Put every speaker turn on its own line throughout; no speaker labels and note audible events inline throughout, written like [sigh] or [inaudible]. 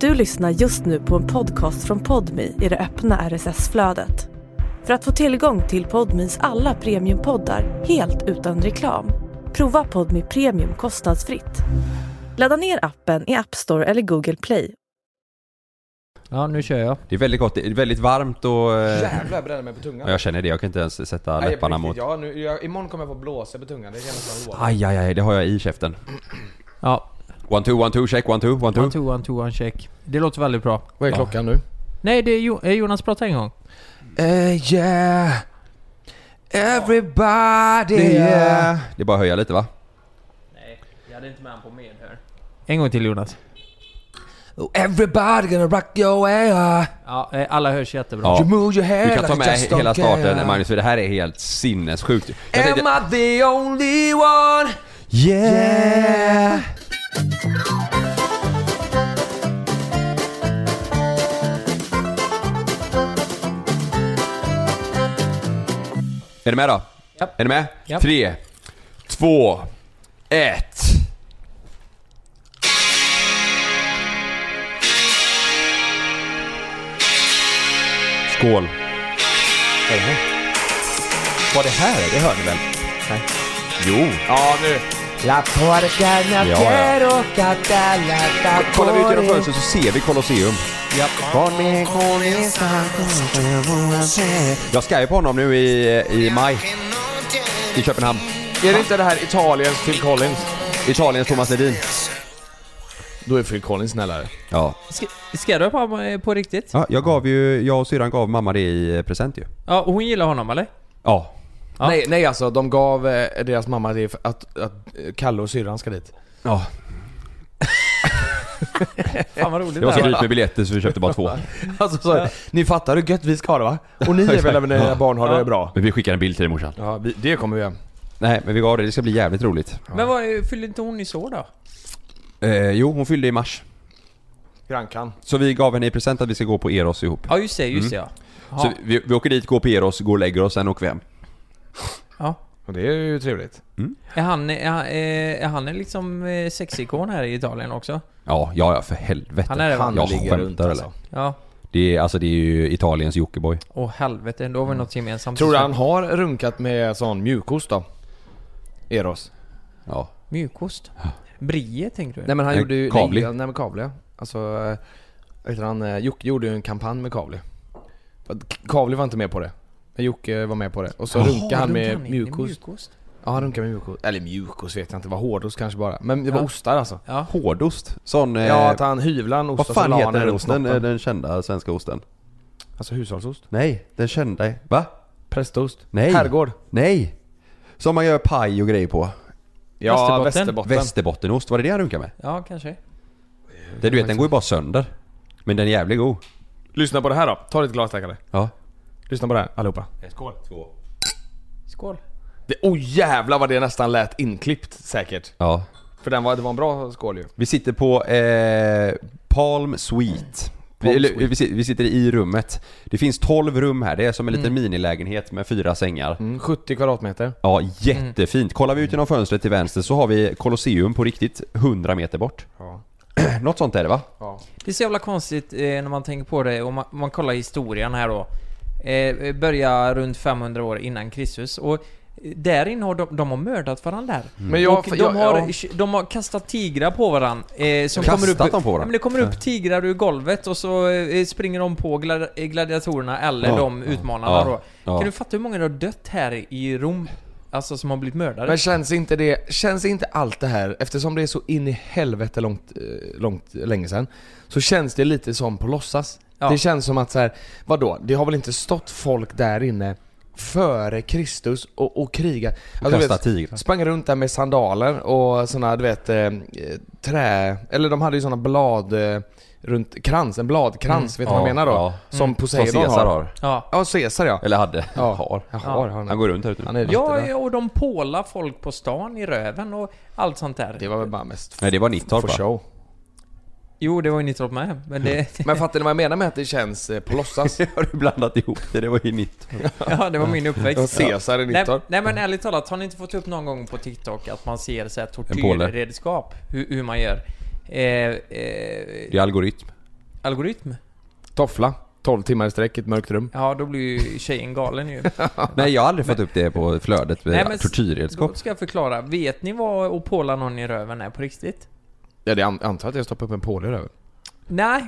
Du lyssnar just nu på en podcast från Podmi i det öppna RSS-flödet. För att få tillgång till Podmis alla premiumpoddar helt utan reklam, prova Podmi Premium kostnadsfritt. Ladda ner appen i App Store eller Google Play.
Ja, nu kör jag.
Det är väldigt gott, det är väldigt varmt och... eh,
Jävlar jag bränner mig på tungan.
ja, jag känner det, jag kan inte ens sätta
Nej, på
läpparna
riktigt,
mot...
Ja, nu, jag, imorgon kommer jag få blåsa på tungan, det känns som en
Aj, aj, aj, det har jag i käften.
Ja,
One, two, one, two, check, one, two, one, two.
one two, one two, one check. Det låter väldigt bra.
Vad
är klockan
nu?
Nej, det är jo- eh, Jonas pratar en gång.
Uh, yeah Everybody yeah
Det är bara att höja lite va?
Nej, jag hade inte med honom på medhör. En gång till Jonas.
Everybody gonna rock your way
Ja, eh, alla hörs jättebra.
Ja.
You move your hair
Vi kan ta med
like you just
hela
don't care.
starten Magnus, för det här är helt sinnessjukt. Jag
Am
tänkte,
I the only one?
yeah! Är ni med då?
Japp.
Är ni med?
Japp.
Tre, två, ett. Skål. Vad det här är, det hör ni väl?
Nej.
Jo.
Ja nu! La porcana
Ja, ja.
quiero catalata
Kollar vi ut genom fönstret så ser vi Colosseum. Jag ska ju på honom nu i, i maj. I Köpenhamn.
Är det inte det här Italiens Phil Collins?
Italiens Thomas Ledin.
Då är Phil Collins snällare.
Ja.
Ska, ska du ha på, eh, på riktigt?
ja. Jag gav ju, jag och syrran gav mamma det i eh, present ju.
Ja, hon gillar honom eller?
Ja.
Ja.
Nej, nej alltså, de gav eh, deras mamma det för att, att eh, Kalle och syrran ska dit.
Ja.
Fan vad roligt
Det var
här
så dyrt med biljetter så vi köpte [laughs] bara två.
Alltså så, ni fattar hur gött vi ska ha det va? Och [laughs] ni är väl när era barn har det bra?
Men vi skickar en bild till dig morsan.
Ja, vi, det kommer vi göra.
Nej men vi gav det, det ska bli jävligt roligt.
Men vad, fyllde inte hon i så då?
Eh, jo, hon fyllde i mars.
Grankan.
Så vi gav henne i present att vi ska gå på Eros ihop.
Ja just det, just det ja.
Mm. Så
Så,
vi, vi åker dit, går på Eros, går och lägger oss, sen åker vi hem.
ja.
Och det är ju trevligt.
Är han, är han, eh, är han en liksom eh, sexikon här i Italien också?
Ja, ja, ja för helvete.
Han är det va?
Jag skämtar eller?
alltså.
Ja.
Det är, alltså, det är ju Italiens Jockiboi.
Åh helvete, då har vi något gemensamt.
Tror du han har runkat med sån mjukost då? Eros?
Ja.
Mjukost? Brie tänker du?
Nej men han
Eh,
gjorde ju...
Kavli.
Nej, nej men Kavli ja. Alltså... eh, Vad heter han? Eh, Jocke gjorde ju en kampanj med Kavli. För att K- Kavli var inte med på det. Men Jocke var med på det. Och så runkade han med
in i
mjukost. Ja han runkade med mjukost. Eller mjukost vet jag inte, det var hårdost kanske bara. Men det var
Ja.
ostar alltså.
Ja.
Hårdost? Sån... eh,
Ja att han hyvlade en ost
vad
och så
fan
la
heter
han den
den
runt
osten? Eh,
snoppen.
Den kända svenska osten?
Alltså hushållsost.
Nej, den kända... Va?
Prästost.
Nej.
Herrgård.
Nej! Som man gör paj och grejer på.
Ja,
Västerbotten.
Västerbottenost, var det det han runkade med?
ja, kanske.
Det du vet, den går ju bara sönder. Men den är jävligt god.
Lyssna på det här då. Ta ditt glas där Kalle.
Ja.
Lyssna på det här allihopa.
Skål. Skål.
Skål.
Det, oh jävlar vad det nästan lät inklippt säkert.
Ja.
För den var, det var en bra skål ju.
Vi sitter på eh, Palm Suite. Vi,
Palm
eller,
Suite.
vi, sit- vi sitter i rummet. Det finns 12 rum här. Det är som en liten minilägenhet med fyra sängar.
Mm, 70 kvadratmeter.
Ja, jättefint. Kollar vi ut genom fönstret till vänster så har vi Colosseum på riktigt 100 meter bort. [clears throat]
Ja.
Något sånt är det va?
ja.
Det är så jävla konstigt eh, när man tänker på det och man, man kollar historien här då. Eh, börja runt 500 år innan Kristus och eh, därin har de, de har mördat varandra där.
Mm.
Men jag,
och de,
jag,
har,
ja.
de har kastat tigrar på varandra. Eh, som
Kastat
kommer upp,
dem på varandra?
Ja, Men det kommer upp tigrar ur golvet och så eh, springer de på glad, eh, gladiatorerna eller
Ja.
de utmanarna
Ja.
då.
Ja.
Kan du fatta hur många det har dött här i Rom? Alltså som har blivit mördade?
Men känns inte det, känns inte allt det här, eftersom det är så in i helvete långt, eh, långt, länge sedan. Så känns det lite som på låtsas.
Ja.
Det känns som att så här, vadå? Det har väl inte stått folk där inne före Kristus och, och krigat? Alltså, du
Kasta
vet,
tigrar.
Sprang runt där med sandaler och såna du vet, eh, trä... Eller de hade ju såna blad... Eh, runt krans, en bladkrans, vet du vad jag menar då?
ja.
Som
Som
Poseidon
Caesar
har.
har.
ja.
Ja, Caesar ja.
Eller hade.
Ja.
Har.
Jag har, har
Han
han.
går runt här ute
han
nu.
är riktigt
Ja,
bra.
ja, och de pålar folk på stan i röven och allt sånt där.
Det var väl bara mest
Nej det var Nittorp [laughs]
för
va?
show.
Jo, det var ju Nittorp med. Men det,
Men fattar ni vad jag menar med att det känns eh,
[laughs]
på låtsas?
Har du blandat ihop det? Det var ju Nittorp.
[laughs] ja, det var min
Och
uppväxt.
Caesar i
Nej,
Nittorp.
nej men ärligt talat, har ni inte fått upp någon gång på TikTok att man ser så här
En påle.
tortyrredskap? Hur, hur man gör? Eh, eh,
Det är algoritm.
algoritm.
Toffla. 12 timmar i sträck i ett mörkt rum.
Ja, då blir ju tjejen galen
[laughs]
ju.
Nej, jag har aldrig fått upp det på flödet med
Nej, men s-
tortyrredskap.
Då ska jag förklara. Vet ni vad att påla någon i röven är på riktigt?
Ja, det an- antar att jag stoppar upp en påle i röven.
Nej.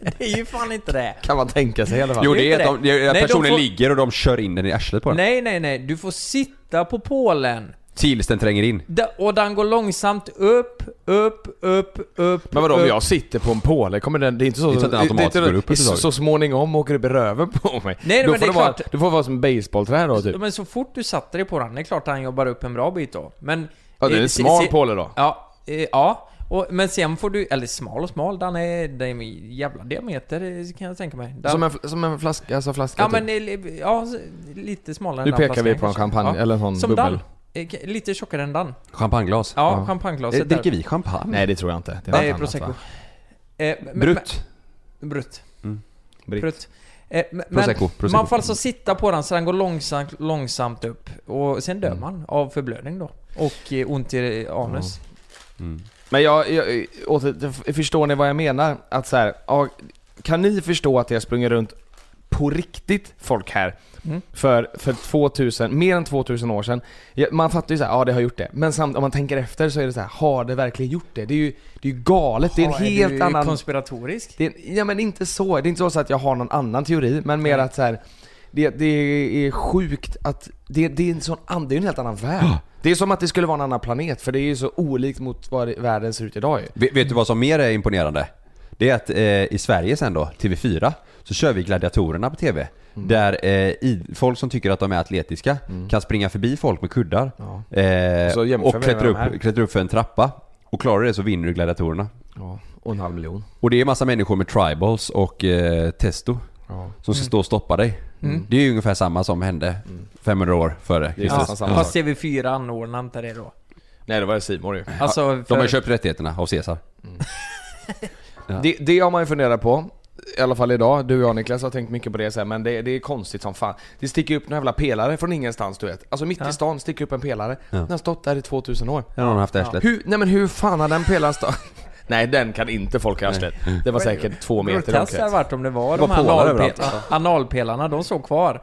[laughs] det är ju fan inte det.
Kan man tänka sig i alla fall.
Jo,
det är
det
inte
är att
det.
de, det är att
Nej, de
personen
får-
ligger och de kör in den i arslet på den.
Nej, nej, nej. Du får sitta på pålen.
Tills den tränger in.
Da- Och den går långsamt upp, upp, upp, upp.
Men vadå, om
upp.
jag sitter på en påle, kommer den... Det är inte så...
Det är inte att den automatiskt
det är inte-
går upp
det är
ett
så,
tag.
så småningom åker det upp i röven på mig.
Nej,
då
men
får
det är
vara,
klart.
Du får vara som basebollträ då, typ.
Men så fort du satte dig på den, det är klart att han jobbar upp en bra bit då. Men...
Ja, det är
eh,
en
se-
smal
se-
påle då.
Ja, eh, ja. Och, men sen får du, eller smal och smal, den är, den är jävla diameter eh, kan jag tänka mig. Den,
Som en, fl- som en flaska, alltså flaska
ja
typ.
men, eh, ja, så- lite smalare än
Nu
den
pekar vi
flaskan
på en
kanske.
champagne,
Ja.
eller en sån
Som
bubbel.
Dan. Eh, k- Lite tjockare än Dan.
Champagneglas.
Ja,
Ja.
Eh,
champagneglaset där.
Dricker vi champagne?
Nej, det tror jag inte. Det
Nej,
något annat,
prosecco.
va?
Eh, men-
Brutt.
men- Brutt.
Mm.
Britt.
Brutt. Eh, men- men
Prosecco. prosecco.
Man får alltså sitta på den så den går långsamt, långsamt upp. Och sen
Mm.
dör man av förblödning då. Och eh, ont i anus.
Mm.
Men jag, jag åter, f- förstår ni vad jag menar? Att så här, ja, kan ni förstå att jag springer runt på riktigt folk här?
Mm.
För, för 2000, mer än 2000 år sedan. Ja, Man fattar ju så här, ja det har gjort det. Men samt, om man tänker efter så är det så här, har det verkligen gjort det? Det är ju, det är ju galet, det är en
Ja,
helt
du
annan...
konspiratorisk.
Det är, ja men inte så, det är inte så att jag har någon annan teori, men mer
Nej.
att så här, det, det är sjukt att det, det, är en sån, an- det är en helt annan värld. Det är som att det skulle vara en annan planet, för det är ju så olikt mot vad det- världen ser ut idag ju.
Vet, vet du vad som mer är imponerande? Det är att eh, i Sverige sen då, TV4, så kör vi Gladiatorerna på TV.
Mm.
Där eh, i, folk som tycker att de är atletiska kan springa förbi folk med kuddar.
Ja.
Eh,
Så jämför vi
och
med
klättra
de här.
upp, klättra upp för en trappa. Och klarar du det så vinner du Gladiatorerna.
Ja, och en halv miljon.
Och det är massa människor med tribals och eh, testo
Ja.
som ska stå och stoppa dig. Det är ju ungefär samma som hände 500 år före
Mm. Det är
Kristus.
nästan samma
Fast TV4 anordnar inte det då.
Nej det var Simon ju.
Alltså,
De har
för,
ju köpt rättigheterna av Caesar. Ja.
Det, det har man ju funderat på. I alla fall idag, du och jag Niklas har tänkt mycket på det så här, men det, det är konstigt som fan. Det sticker upp några jävla pelare från ingenstans du vet. Alltså mitt i stan sticker upp en pelare. Den har stått där i 2000 år.
Ja, de har haft arslet.
Hur, nej men hur fan har den pelaren stått? [laughs] Nej den kan inte folk ha arslet. Det var säkert två meter i
Groteskt hade det
omkrets.
varit om det var,
Det
de
var
här
pålar
analpe-
överallt,
analpelarna, de såg kvar.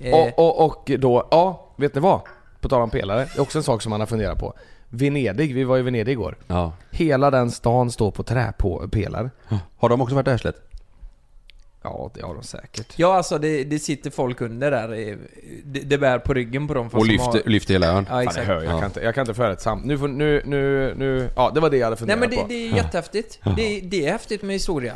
Eh,
Och, och, och då, ja, vet ni vad? På tal om pelare, det är också en sak som man har funderat på. Venedig, vi var i Venedig igår.
Ja.
Hela den stan står på trä på pelare.
Har de också varit i arslet?
Ja, det har de säkert.
Ja alltså det, det sitter folk under där. eh, Det, det bär på ryggen på dem. fast
Och
de
lyfter, lyfter hela ön.
Ja,
Fan, jag,
exakt.
hör, jag,
Ja.
kan inte, jag kan inte föra ett sam... Nu, får, nu, nu, nu... Ja, det var det jag hade
Nej
funderat
men det,
på.
det är jättehäftigt. Det, det är häftigt med historia.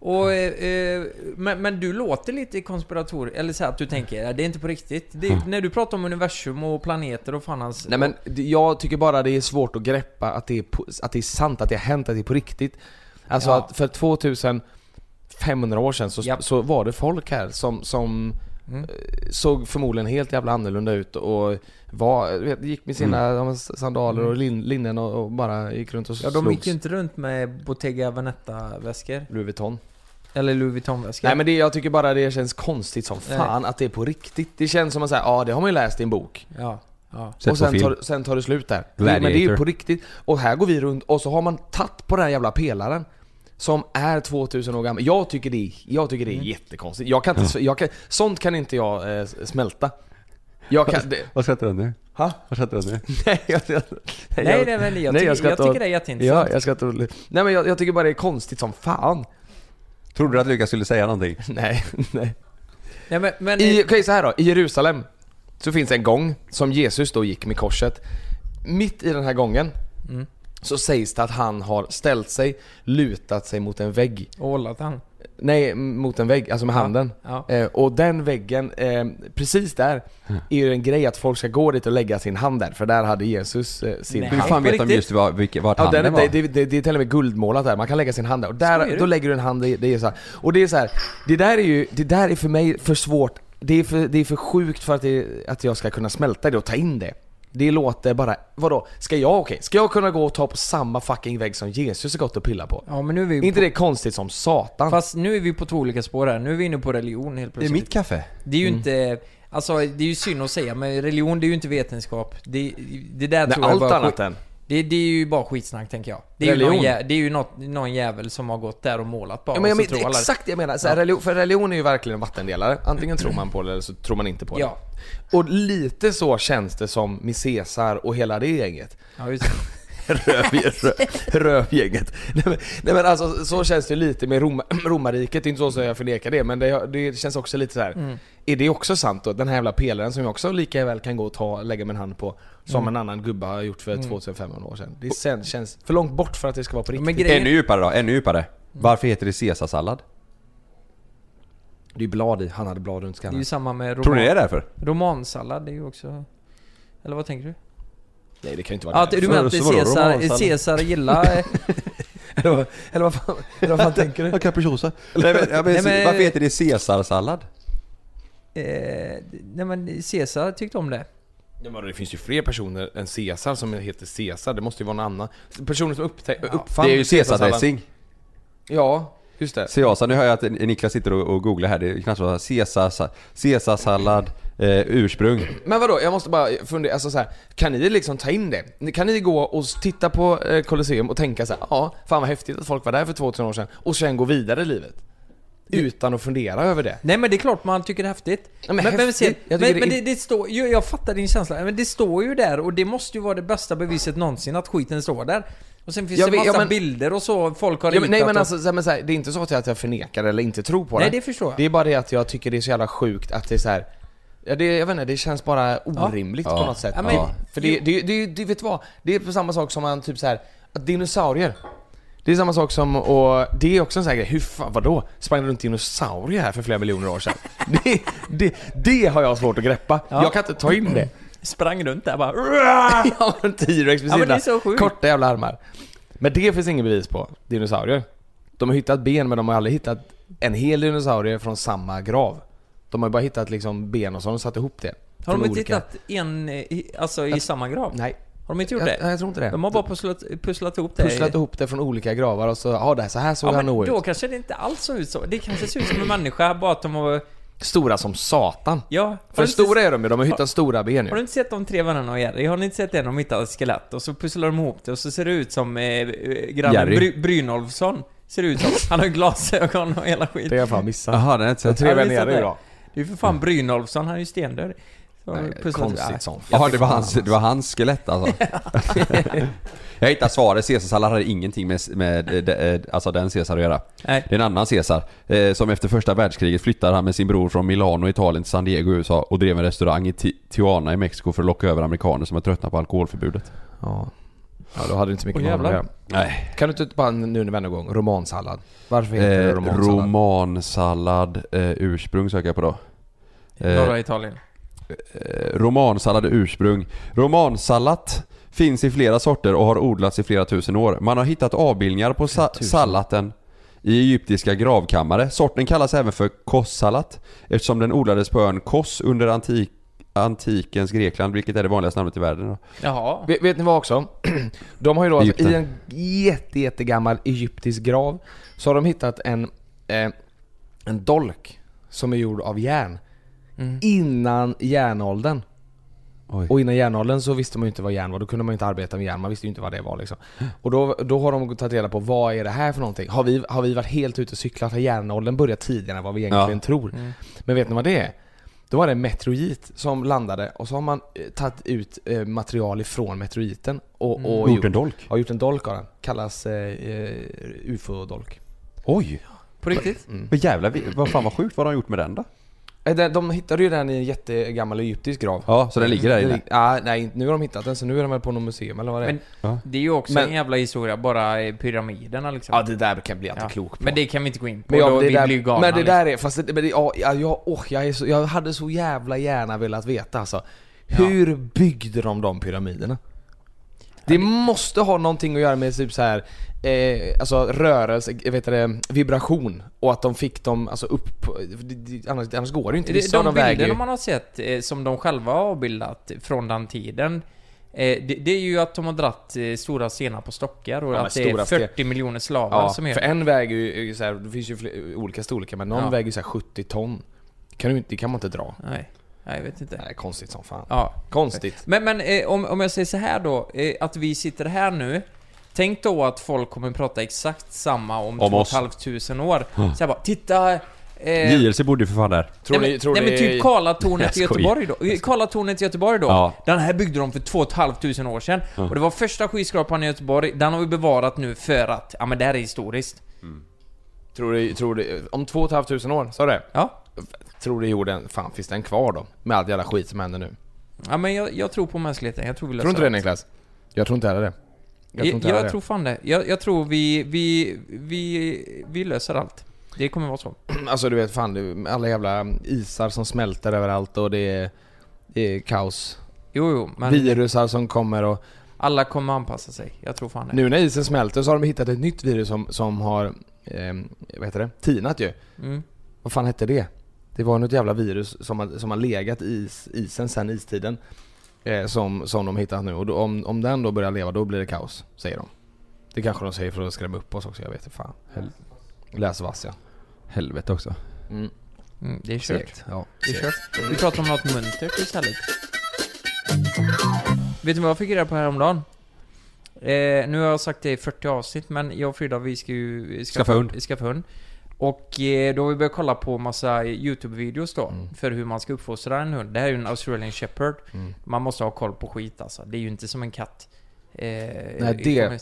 Och, eh, eh, men, men du låter lite konspirator eller så här att du tänker "Ja, det är inte på riktigt. Det, när du pratar om universum och planeter och fan hans...
Mm. Nej men det- jag tycker bara det är svårt att greppa att det är, på, att det är sant, att det har hänt, att det är på riktigt. Alltså
Ja.
att för 2500 år sedan så,
Japp. Mm.
så var det folk här som, som eh, såg förmodligen helt jävla annorlunda ut och var, du vet, gick med sina ja, men, sandaler och lin, linnen och, och bara gick runt och
Mm. ja, de
slogs.
gick ju inte runt med Bottega Veneta-väskor.
Louis Vuitton.
Eller Louis Vuitton-väskor.
Nej men det, jag tycker bara det känns konstigt som fan att det är på riktigt. Det känns som att säga, ja det har man ju läst i en bok.
Ja, ja.
Sett
och
på
sen
film.
tar, sen tar det slut där. Det- Men det är ju
Gladiator.
på riktigt. Och här går vi runt och så har man tagit på den här jävla pelaren. Som är 2000 år gammal. Jag tycker det är, jag tycker det är jättekonstigt. Jag kan inte, jag kan, sånt kan inte jag eh, smälta. Jag kan... Det,
Vad sätter den nu?
ha? [laughs]
Vad sätter den nu?
Nej, jag, jag,
Nej, nej, men jag,
[laughs] nej,
tycker,
jag
jag,
ska ta-
tycker det är
Ja,
jätteintressant.
jag ska inte... Nej men jag, jag tycker bara det är konstigt som fan. [laughs]
Trodde du att Lukas skulle säga någonting?
Nej, nej.
Nej, men, men,
I,
eh,
okej, så här då. I Jerusalem så finns en gång som Jesus då gick med korset. Mitt i den här gången
Mm.
så sägs det att han har ställt sig, lutat sig mot en vägg.
Och hållat han.
Nej, m- mot en vägg, alltså med handen.
Ja.
Eh, och den väggen, eh, precis där, är ju en grej att folk ska gå dit och lägga sin hand där. För där hade Jesus eh, sin
Nej.
Hur
hand.
fan
på
vet de
riktigt?
just var, vilket, vart
Ja,
handen
den,
var?
det, det, det, det är till och med guldmålat där, man kan lägga sin hand där. Och där
Skojar
då
du?
lägger du en hand i, det är så här. Och det är så här, det där är ju, det där är för mig för svårt, det är för, det är för sjukt för att, det, att jag ska kunna smälta det och ta in det. Det låter bara, vadå? Ska jag, okej, ska jag kunna gå och ta på samma fucking vägg som Jesus har gått och pillat på?
Ja, men nu är
Är
vi
inte
på,
det konstigt som satan?
Fast nu är vi på två olika spår här. Nu är vi inne på religion helt
Det är
plötsligt.
mitt kaffe.
Det är
Mm.
ju inte... Alltså det är ju synd att säga men religion det är ju inte vetenskap. Det, det där
Nej,
tror jag
allt
bara
annat
skit-
än.
Det, det är ju bara skitsnack tänker jag. Det är, ju
Religion.
någon, jä- det är ju något, någon jävel som har gått där och målat bara.
Ja, men jag
och så
men,
tror alla-
exakt det jag menar. Så här, religion, för religion är ju verkligen en vattendelare. Antingen tror man på det eller så tror man inte på det.
Ja.
Och lite så känns det som med Caesar och hela det gänget.
Ja,
[laughs]
just det.
Rövgänget. Rövgänget. Nej men, nej, men alltså så känns det ju lite med Rom, romarriket. Det är inte så som jag förnekar det men det, det känns också lite så här.
Mm.
Är det också sant då? Den här jävla pelaren som jag också lika väl kan gå och ta, lägga min hand på. Som
Mm.
en annan gubbe har gjort för 2500 år sedan. Det sen, känns för långt bort för att det ska vara på riktigt.
Men grejen,
Ännu djupare då, ännu djupare. Varför heter det caesarsallad?
Mm. Det är ju blad i. Han hade blad runt
det är
skallen.
ju samma med roman,
Tror ni det är därför?
romansallad. Det är ju också... Eller vad tänker du?
Nej det kan ju inte vara
Ja, du menar att
Så var det
Caesar,
romansallad.
Caesar gillar... [laughs] eh,
[laughs]
Eller, vad- eller vad fan, eller vad fan tänker du?
capricciosa. Nej, men, ja, men,
Nej, men-
Varför heter det caesarsallad?
eh, nej men Caesar tyckte om det.
Ja, men det finns ju fler personer än Caesar som heter Caesar, det måste ju vara någon annan. Personer som upptä- uppfann
det är ju
caesarsalladen.
caesardressing.
Ja, just det.
Caesar, nu hör jag att Niklas sitter och, och googlar här. Det är knappt så här, caesarsa- caesarsallad, eh, ursprung.
Men vadå, jag måste bara fundera, alltså så här, kan ni liksom ta in det? Kan ni gå och titta på eh, Colosseum och tänka så här, ja, fan vad häftigt att folk var där för 2000 år sedan, och sen gå vidare i livet? Utan att fundera över det.
Nej men det är klart man tycker det är häftigt.
Ja, men häftigt.
se- men,
Jag tycker det är
men
in-
det, det står ju, jag fattar din känsla, men det står ju där och det måste ju vara det bästa beviset någonsin att skiten står där. Och sen finns
Jag
det
vet-
massa
ja, men-
bilder och så, folk har
Ja, men, nej
ritat
men
och-
alltså, så här, men så här, det är inte så att jag, att jag förnekar eller inte tror på
Nej
det.
det förstår jag.
Det är bara det att jag tycker det är så jävla sjukt att det är så här. Ja, det, jag vet inte, det känns bara orimligt på
Ja.
något sätt.
Ja, men-
Ja. För det, det, det, det, vet du vad? Det är på samma sak som man typ så här, att dinosaurier. Det är samma sak som och det är också en sån här grej, hur fan, vadå? Sprang det runt dinosaurier här för flera miljoner år sedan? [laughs] Det, det, det har jag svårt att greppa.
Ja.
Jag kan inte ta in det.
Sprang runt där bara.
[laughs] Jag har en T-rex vid
Ja, men det är
sidan.
så sjukt.
Korta jävla armar. Men det finns inget bevis på. Dinosaurier. De har hittat ben men de har aldrig hittat en hel dinosaurie från samma grav. De har bara hittat liksom ben och så har de satt ihop det.
Har de
Från
inte
olika-
hittat en, eh, i- alltså i samma grav?
Nej.
Har de inte gjort
Jag,
det?
jag, tror inte det.
De har bara pusslat, pusslat ihop det.
pusslat ihop det från olika gravar och så, ja det här, så här såg
ja,
han
men
nog
då
ut.
kanske det inte alls såg ut så. Det kanske ser ut som en människa, bara att de har...
Stora som satan.
Ja. har du
För
inte-
stora är de ju, de har hittat stora ben
Har du
nu.
inte sett de tre vännerna och Jerry? Har ni inte sett det? De hittar ett skelett och så pusslar de ihop det och så ser det ut som eh, eh, grannen
Jerry.
Bry- Brynolfsson. Ser det ut som. Han har ju glasögon och hela skiten.
Det har jag fan missat.
Jaha, den är inte sett.
Jag tror
Har du
jag
missat
är nere
det?
idag.
Det är ju för fan Brynolfsson, han är ju stendöd. Så har de
Nej,
pusslat-
Konstigt
Ja.
som
Jaha, det var hans, det var hans skelett alltså.
[laughs]
jag hittade svaret. Caesarsallad hade ingenting med, med eh, de, eh, alltså den Caesar att göra.
Nej.
Det är en annan Caesar eh, som efter första världskriget flyttade han med sin bror från Milano, Italien till San Diego, USA och drev en restaurang i Ti- Tijuana i Mexiko för att locka över amerikaner som var tröttna på alkoholförbudet.
Ja. Ja, då hade det inte så mycket
Åh,
med honom att
jävlar.
göra.
Nej.
Kan du inte bara nu när vi ändå är igång, romansallad? Varför heter det
Eh,
romansallad?
romansallad eh, ursprung söker jag på då. Eh,
Norra Italien.
Eh, romansallad är ursprung. Romansallat finns i flera sorter och har odlats i flera tusen år. Man har hittat avbildningar på sa- sallaten i egyptiska gravkammare. Sorten kallas även för kossallat eftersom den odlades på ön Kos under antik antikens Grekland, vilket är det vanligaste namnet i världen. då.
Jaha.
Vet, vet ni vad också? [clears throat] De har ju då alltså,
Egypten.
i en jätte, jättegammal egyptisk grav så har de hittat en, eh, en dolk som är gjord av järn.
Mm.
Innan järnåldern.
Oj.
Och innan järnåldern så visste man ju inte vad järn var, då kunde man ju inte arbeta med järn, man visste ju inte vad det var liksom. Och då, då har de tagit reda på vad är det här för någonting? Har vi, har vi varit helt ute och cyklat? Har järnåldern börjat tidigare än vad vi egentligen tror? Men vet ni vad det är? Då var det en meteorit som landade och så har man eh, tagit ut eh, material ifrån meteoriten och, och
Gjort en dolk?
har gjort en dolk av den. Kallas eh, eh, ufo-dolk.
Oj!
På riktigt?
Mm.
Vad jävla, vi- vad fan vad sjukt, vad har de gjort med den då?
Eh, De, de hittade ju den i en jättegammal egyptisk grav.
Ja, så den ligger där
Det
inne.
lig- ah, nej, nu har de hittat den så nu är de väl på något museum eller vad det är.
Men
Ja.
det är ju också
Men-
en jävla historia, bara eh, pyramiderna liksom.
Ja det där kan bli jag inte
Ja.
klok på.
Men det kan vi inte gå in på,
Men, jag,
då,
det
vi
där,
blir ju galna.
men det
liksom.
där är, fast det, men det, ja, ja, jag, åh, jag, är så, jag hade så jävla gärna velat veta alltså. Hur byggde de de pyramiderna? Det måste ha någonting att göra med typ så här, eh, alltså rörelse, eh, vet du det, vibration och att de fick dem alltså upp, på- det- det- annars, annars går det ju inte.
De,
Vissa av
de
dem väger
bilderna
ju.
man har sett, eh, som de själva har avbildat från den tiden, eh, det, det är ju att de har dratt eh, stora stenar på stockar och
Ja, men
att det är
stora sten-
40 miljoner slavar
Ja,
som är...
för en väger ju, är ju så här, det finns ju fler, olika storlekar men någon
Ja.
väger ju så här 70 ton. Kan du, inte- det kan man inte dra.
Nej. Nej, jag vet inte.
Nej, konstigt som fan.
Ja.
Konstigt.
Men, men eh, om, om jag säger så här då, eh, att vi sitter här nu. Tänk då att folk kommer prata exakt samma om,
Om
två och
oss.
ett halvt tusen år. Så jag bara, titta... eh,
JLC bodde ju för fan där.
Tror
nej,
ni,
men-
tror
nej
ni...
men typ
[laughs]
Karlatornet i
Jag skojar.
Göteborg då. Eh, Karlatornet i Göteborg då.
Ja.
Den här byggde de för två och ett halvt tusen år sedan. Och det var första skyskrapan i Göteborg. Den har vi bevarat nu för att, ja men det här är historiskt.
Tror du, tror du, om två och ett halvt tusen år, sa du det?
Ja.
Tror du jorden, fan finns den kvar då? Med all jävla skit som händer nu.
Ja men jag, jag tror på mänskligheten, jag tror vi löser
Tror inte
det.
det Niklas? Jag tror inte heller det. Alltså- Jag tror
Jag,
inte
jag,
heller
tror fan det. Jag, jag tror vi, vi, vi, vi löser allt. Det kommer vara så.
det. Alltså du vet fan, det- alla jävla isar som smälter överallt och det är, det är kaos.
Jo, jo, men
Virusar som kommer och...
alla kommer anpassa sig. Jag tror fan det.
Nu när isen smälter så har de hittat ett nytt virus som, som har... ehm, vad heter det? Tinat ju.
Mm.
Vad fan hette det? Det var något jävla virus som har, som har legat i is, isen sen istiden. Eh, som, som de hittat nu. Och då, om, om den då börjar leva, då blir det kaos, säger de. Det kanske de säger för att skrämma upp oss också, jag vet inte fan.
Hel-
Läsvass ja.
Helvete också.
Mm.
Mm, det är kört.
Segt. Ja.
Det är kört. Vi pratar om något muntert istället. Vet du vad jag fick reda på häromdagen? Eh, nu har jag sagt det i 40 avsnitt, men jag och Frida vi ska ju
Skaffa hund.
Skaffa hund. Och eh, då har vi börjat kolla på massa YouTube-videos då,
Mm.
för hur man ska uppfostra en hund. Det här är ju en Australian Shepherd.
Mm.
Man måste ha koll på skit alltså. Det är ju inte som en katt. Eh,
Nej, [clears throat] det-
det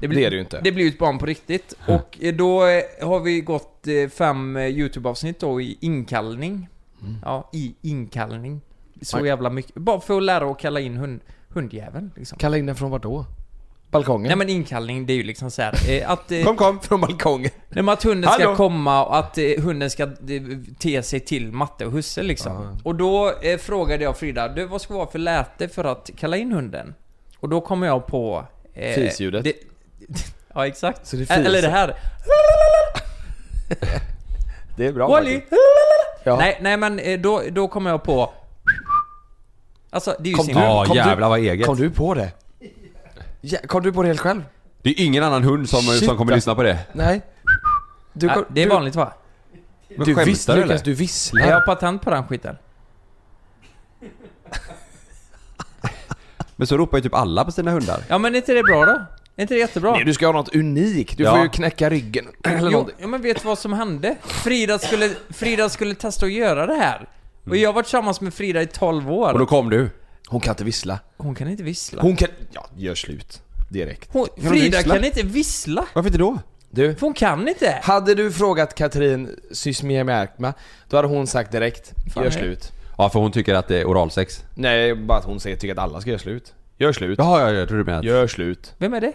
Det är det Hm. ju inte.
det blir ju ett barn på riktigt. Och eh, då eh, har vi gått eh, fem eh, YouTube-avsnitt då i inkallning.
Mm.
Ja, i inkallning. Så
Nej.
jävla mycket. Bara för att lära att kalla in hund, hundjäveln liksom.
Kalla in den från vart då? Balkongen?
Nej men inkallning, det är ju liksom så här, eh, att, eh,
Mm. Kom kom! Från balkongen!
nej, men att hunden ska
Hallå?
komma och att eh, hunden ska eh, te sig till matte och husse liksom.
Ja.
Och då eh, frågade jag Frida, du vad ska vara för läte för att kalla in hunden? Och då kommer jag på... Eh,
Fisljudet.
det- [laughs] Ja exakt.
Så det
Ä- Eller
fiser.
det här.
Det är bra
Wally!
Ja.
Nej, nej men eh, då, då kommer jag på... Alltså det är ju
Kom
sin...
du-
Ja
kom du-
jävlar vad eget.
Kom du på det? Ja, kom du på det helt själv?
Det är ingen annan hund som,
Shit,
som kommer
alltså.
lyssna på det.
Nej? Du,
Nej,
kom,
Äh, det är vanligt va?
Men
Du, du
skämtar
visst,
du,
Lukas,
eller?
du
Jag
visslar.
har patent på den skiten.
Men så ropar ju typ alla på sina hundar.
Ja men är inte det bra då? Är inte det jättebra?
Nej, du ska ha något unikt. Du
Ja.
får ju knäcka ryggen [clears throat] eller
jo,
någonting.
ja, men vet du vad som hände? Frida skulle, Frida skulle testa att göra det här. Och jag har varit tillsammans med Frida i 12 år.
Och då kom du.
Hon kan inte vissla.
Hon kan inte vissla.
Hon kan... Ja, gör slut. Direkt.
Hon,
hon
Frida
vissla?
kan inte vissla!
Varför inte då?
Du,
För hon kan inte!
hade du frågat Katrin Sysmiermärkma, då hade hon sagt direkt,
Fan,
gör
nej.
slut.
Ja för hon tycker att det är oralsex.
Nej, bara att hon säger, tycker att alla ska göra slut. Gör slut.
Jaha ja, ja, jag tror du menar att...
Gör slut.
Vem är det?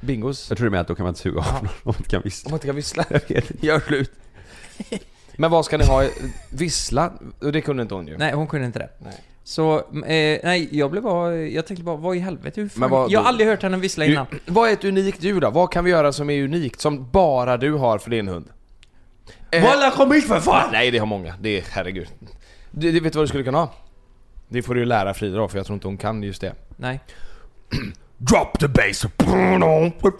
Bingos.
Jag tror du menar att då kan man inte suga av någon om man inte kan vissla.
Om man inte kan vissla.
Gör slut.
Men vad ska ni ha? i- Vissla? Och det kunde inte hon ju.
Nej, hon kunde inte det.
Nej.
Så, eh, nej, jag blev bara... Jag tänkte bara, vad i helvete? Hur fan?
Men vad-
jag har aldrig hört henne vissla
Du,
innan.
vad är ett unikt djur då? Vad kan vi göra som är unikt? Som bara du har för din hund? Eh,
kom hit för fan!
Nej, det har många. Det är, herregud. Du, du vet vad du skulle kunna ha? Det får du ju lära Frida då, för jag tror inte hon kan just det.
Nej.
Drop the bass! Att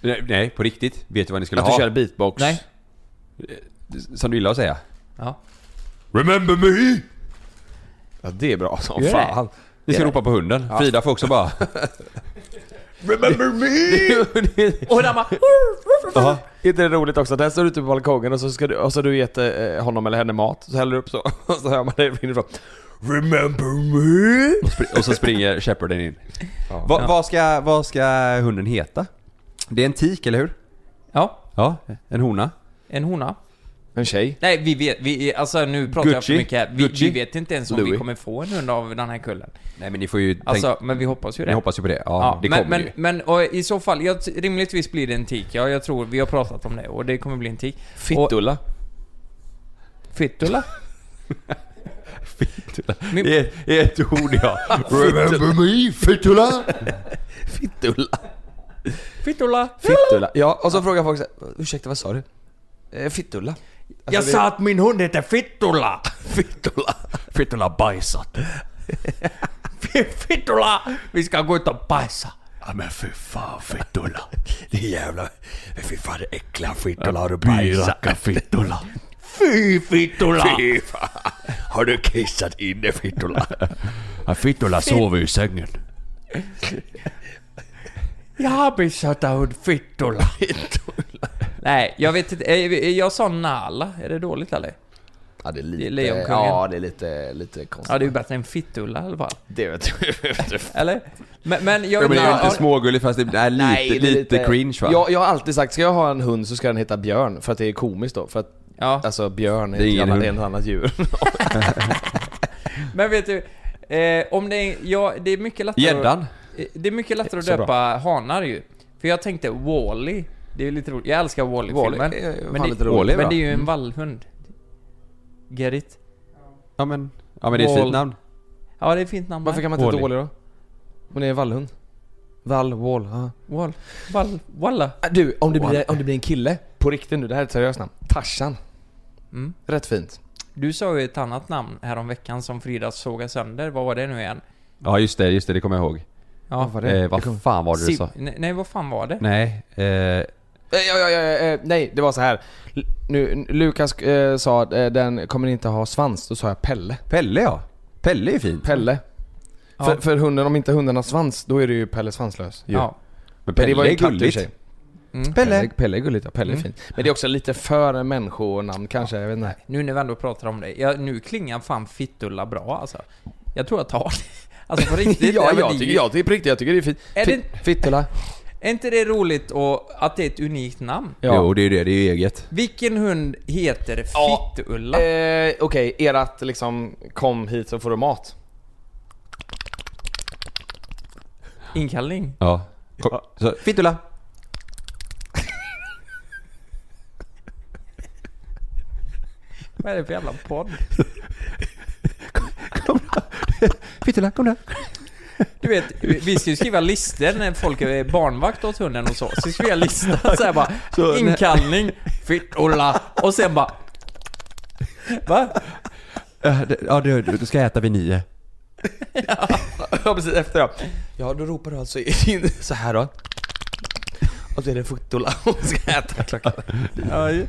Nej, nej, på riktigt. Vet du vad ni skulle
du
ha? Eh,
kör beatbox.
Nej.
Som du gillar att säga.
Ja.
Remember me!
Ja, det är bra som
Gör det?
fan.
Ni ska ropa på hunden. Frida får också [laughs] bara...
Remember me!
Och där bara...
Jaha.
inte det roligt också? Där står du ute på balkongen och så, ska du, och så har du gett eh, honom eller henne mat, så häller du upp så, [laughs] och så hör man det inifrån. Remember me!
Spr- Och så springer shepherden in. Va, vad, ska, vad ska hunden heta? Det är en tik, eller hur?
Ja,
Ja, en hona.
en hona.
En tjej.
Nej, vi vet... Vi, alltså nu pratar jag för
Gucci.
mycket här. Vi, vi
Gucci.
vet inte ens om vi
Louis.
kommer få en hund av den här kullen.
Nej men ni får ju
Alltså,
tänk,
men vi hoppas ju det.
Ni hoppas ju på det. Ja,
Ja,
det
men,
kommer
men,
ju.
men och i så fall, jag, rimligtvis blir det en tik. Ja, jag tror, vi har pratat om det och det kommer bli en tik.
Fittulla.
Fittula? Min-
Det är, det är ett ord
[laughs]
ja.
me, fittula! fittula.
Fittula?
alltså,
Fittula. Ja, och så frågar folk så här, ursäkta vad sa du? Eh, Fittula.
jag
det-
sa att min hund heter [laughs] Fittula!
Fittula.
Fittula bajsat.
Fittula! Vi ska gå ut och bajsa.
Ja men fy fan fittola. Det är jävla... Fy fan det äckliga fittola har du bajsat. Byracka fittola. Fy fittola! Fy fan. Har du kissat inne fittola? Ja, fittola sover i sängen.
Jag har besatt av fittola. Nej, jag vet inte. Eh, Jag sa nala. Är det dåligt eller?
Ja det är
Det är
lite,
Lejonkungen.
ja, det är lite, lite konstigt.
Ja, det är ju bättre än fittulla i alla fall.
Det vet jag.
Eller? Men, men jag
Ja, men det är ju
ja,
inte smågulligt fast det är lite,
[laughs] Nej, det är
lite, cringe va?
Jag, jag har alltid sagt, ska jag ha en hund så ska den heta Björn, för att det är komiskt då. För att,
ja.
alltså björn är,
Det är
ett
ingen
annat,
hund.
är ett annat djur.
Men vet du, eh, om det är, ja, det är mycket lättare att,
Gäddan?
eh, Det är mycket lättare att
Så
döpa
bra.
hanar ju. För jag tänkte Wall-E. Det är lite roligt. Jag älskar
Wall-E
Wall-E-filmen.
är fan
men,
lite
det,
rolig,
va?
men det är ju en vallhund. Get it?
Ja men, ja, men det är ett
Wall-
fint namn.
Ja, det är ett fint namn.
[laughs] Varför kan man inte heta
Wall-E.
Wally då? Hon är en vallhund. Vall, wall, ja.
Wall... Wall... Walla.
Ah, Du, om det, blir, om det blir en kille, på riktigt nu, det här är ett seriöst namn. Tarzan.
Mm.
Rätt fint.
Du sa ju ett annat namn häromveckan som Frida sågade sönder. Vad var det nu igen?
Ja just det, just det, det kommer jag ihåg.
Ja,
var
Eh,
Det kom-
vad fan var det du
Sim...
sa?
Nej, nej, vad fan var det?
Nej, eh,
Eh, Ja, ja, ja, eh, nej, det var så här. L- Nu, Lukas eh, sa att eh, den kommer inte ha svans, då sa jag Pelle.
Pelle ja. Pelle är ju fint.
Pelle.
Ja.
För, för hunden, om inte hunden har svans, då är det ju Pelle svanslös.
ju.
Ja.
Men
Men
Pelle
det var ju
är
en katt i och för
gulligt.
sig.
Mm.
Pelle.
Pelle.
Pelle är gulligt, ja. Pelle är fint. Men det är också lite för människonamn kanske, jag vet inte.
Nu när vi ändå pratar om det. Ja, nu klingar fan Fittulla bra alltså. Jag tror jag tar det. Alltså [laughs] på riktigt.
ja,
men
jag
det är
tycker,
ju-
jag tycker på riktigt, jag tycker det är fint.
Är
Fi- Fittula.
Är inte det roligt och att det är ett unikt namn?
Ja.
Jo det är ju det, det är ju eget.
Vilken hund heter
Ja.
Fittulla?
Eh, Okej, erat liksom kom hit så får du mat.
Inkallning?
Ja. Kom, Så, Fittula!
Vad är det för jävla podd?
Fittula, kom där!
Du vet, vi ska ju skriva listor när folk är barnvakt åt hunden och så. Så ska vi skriva lista [laughs] så här bara.
Så-
inkallning, Fittulla och sen bara... Va?
Eh, det- Ja du, du du ska äta vid nio.
[laughs] ja, precis efter då. Ja, då ropar du alltså in [laughs] så här då. Och så är det Fittula hon ska äta klockan.
Ja, ju.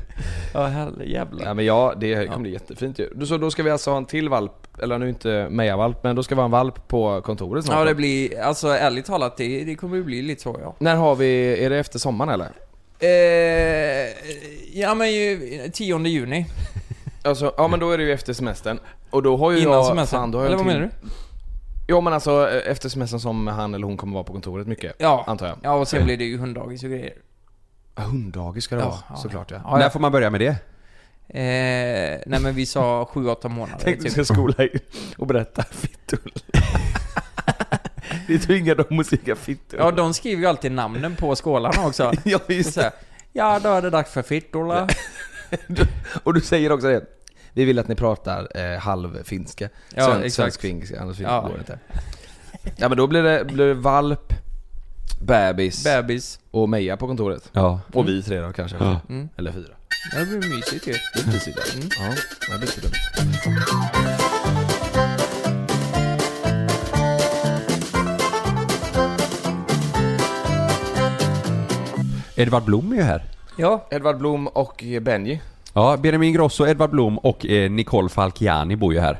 ja herre jävlar.
Ja men ja, det kommer bli jättefint ju. Du, Så då ska vi alltså ha en till valp, eller nu inte Meja-valp, men då ska vi ha en valp på kontoret snart.
Ja
då.
det blir, alltså ärligt talat det, det kommer ju bli lite så ja.
När har vi, är det efter sommaren eller?
Eh, ja men ju 10 juni.
Alltså, ja men då är det ju efter semestern. Och då har ju
Innan
jag,
semestern.
fan, då har jag
Eller vad
en till-
menar du?
Ja men alltså eh, efter semestern som han eller hon kommer vara på kontoret mycket.
Ja.
Antar jag.
Ja och sen blir det ju hunddagis och grejer.
Ja, Hunddagis ska det
Ja,
vara,
ja.
såklart ja.
Ja,
När
ja.
får man börja med det?
Eh, nej men vi sa 7-8 månader
Tänk du
typ.
ska skola in [laughs] och berätta
[laughs]
fittul. det tvingar dem att skrika fittul.
Ja de skriver ju alltid namnen på skålarna också.
ja
Och
visst.
så här, ja då är det dags för fittorna.
Och du säger också det. Vi vill att ni pratar eh, halvfinska.
Ja,
Sven-
exakt.
Svensk finska, annars
Ja.
går det inte. Ja men då blir det, blir det valp, bebis
Bebis.
och Meja på kontoret.
Ja.
Och vi tre då kanske.
Ja.
Mm.
Eller fyra. Mm.
Ja, Det blir mysigt ju.
Det blir mysigt. ja. Ja, det blir inte dumt.
Edvard Blom är ju här.
Ja.
Edvard Blom och Benji.
Ja, Benjamin Grosso, Edvard Blom och eh, Nicole Falciani bor ju här.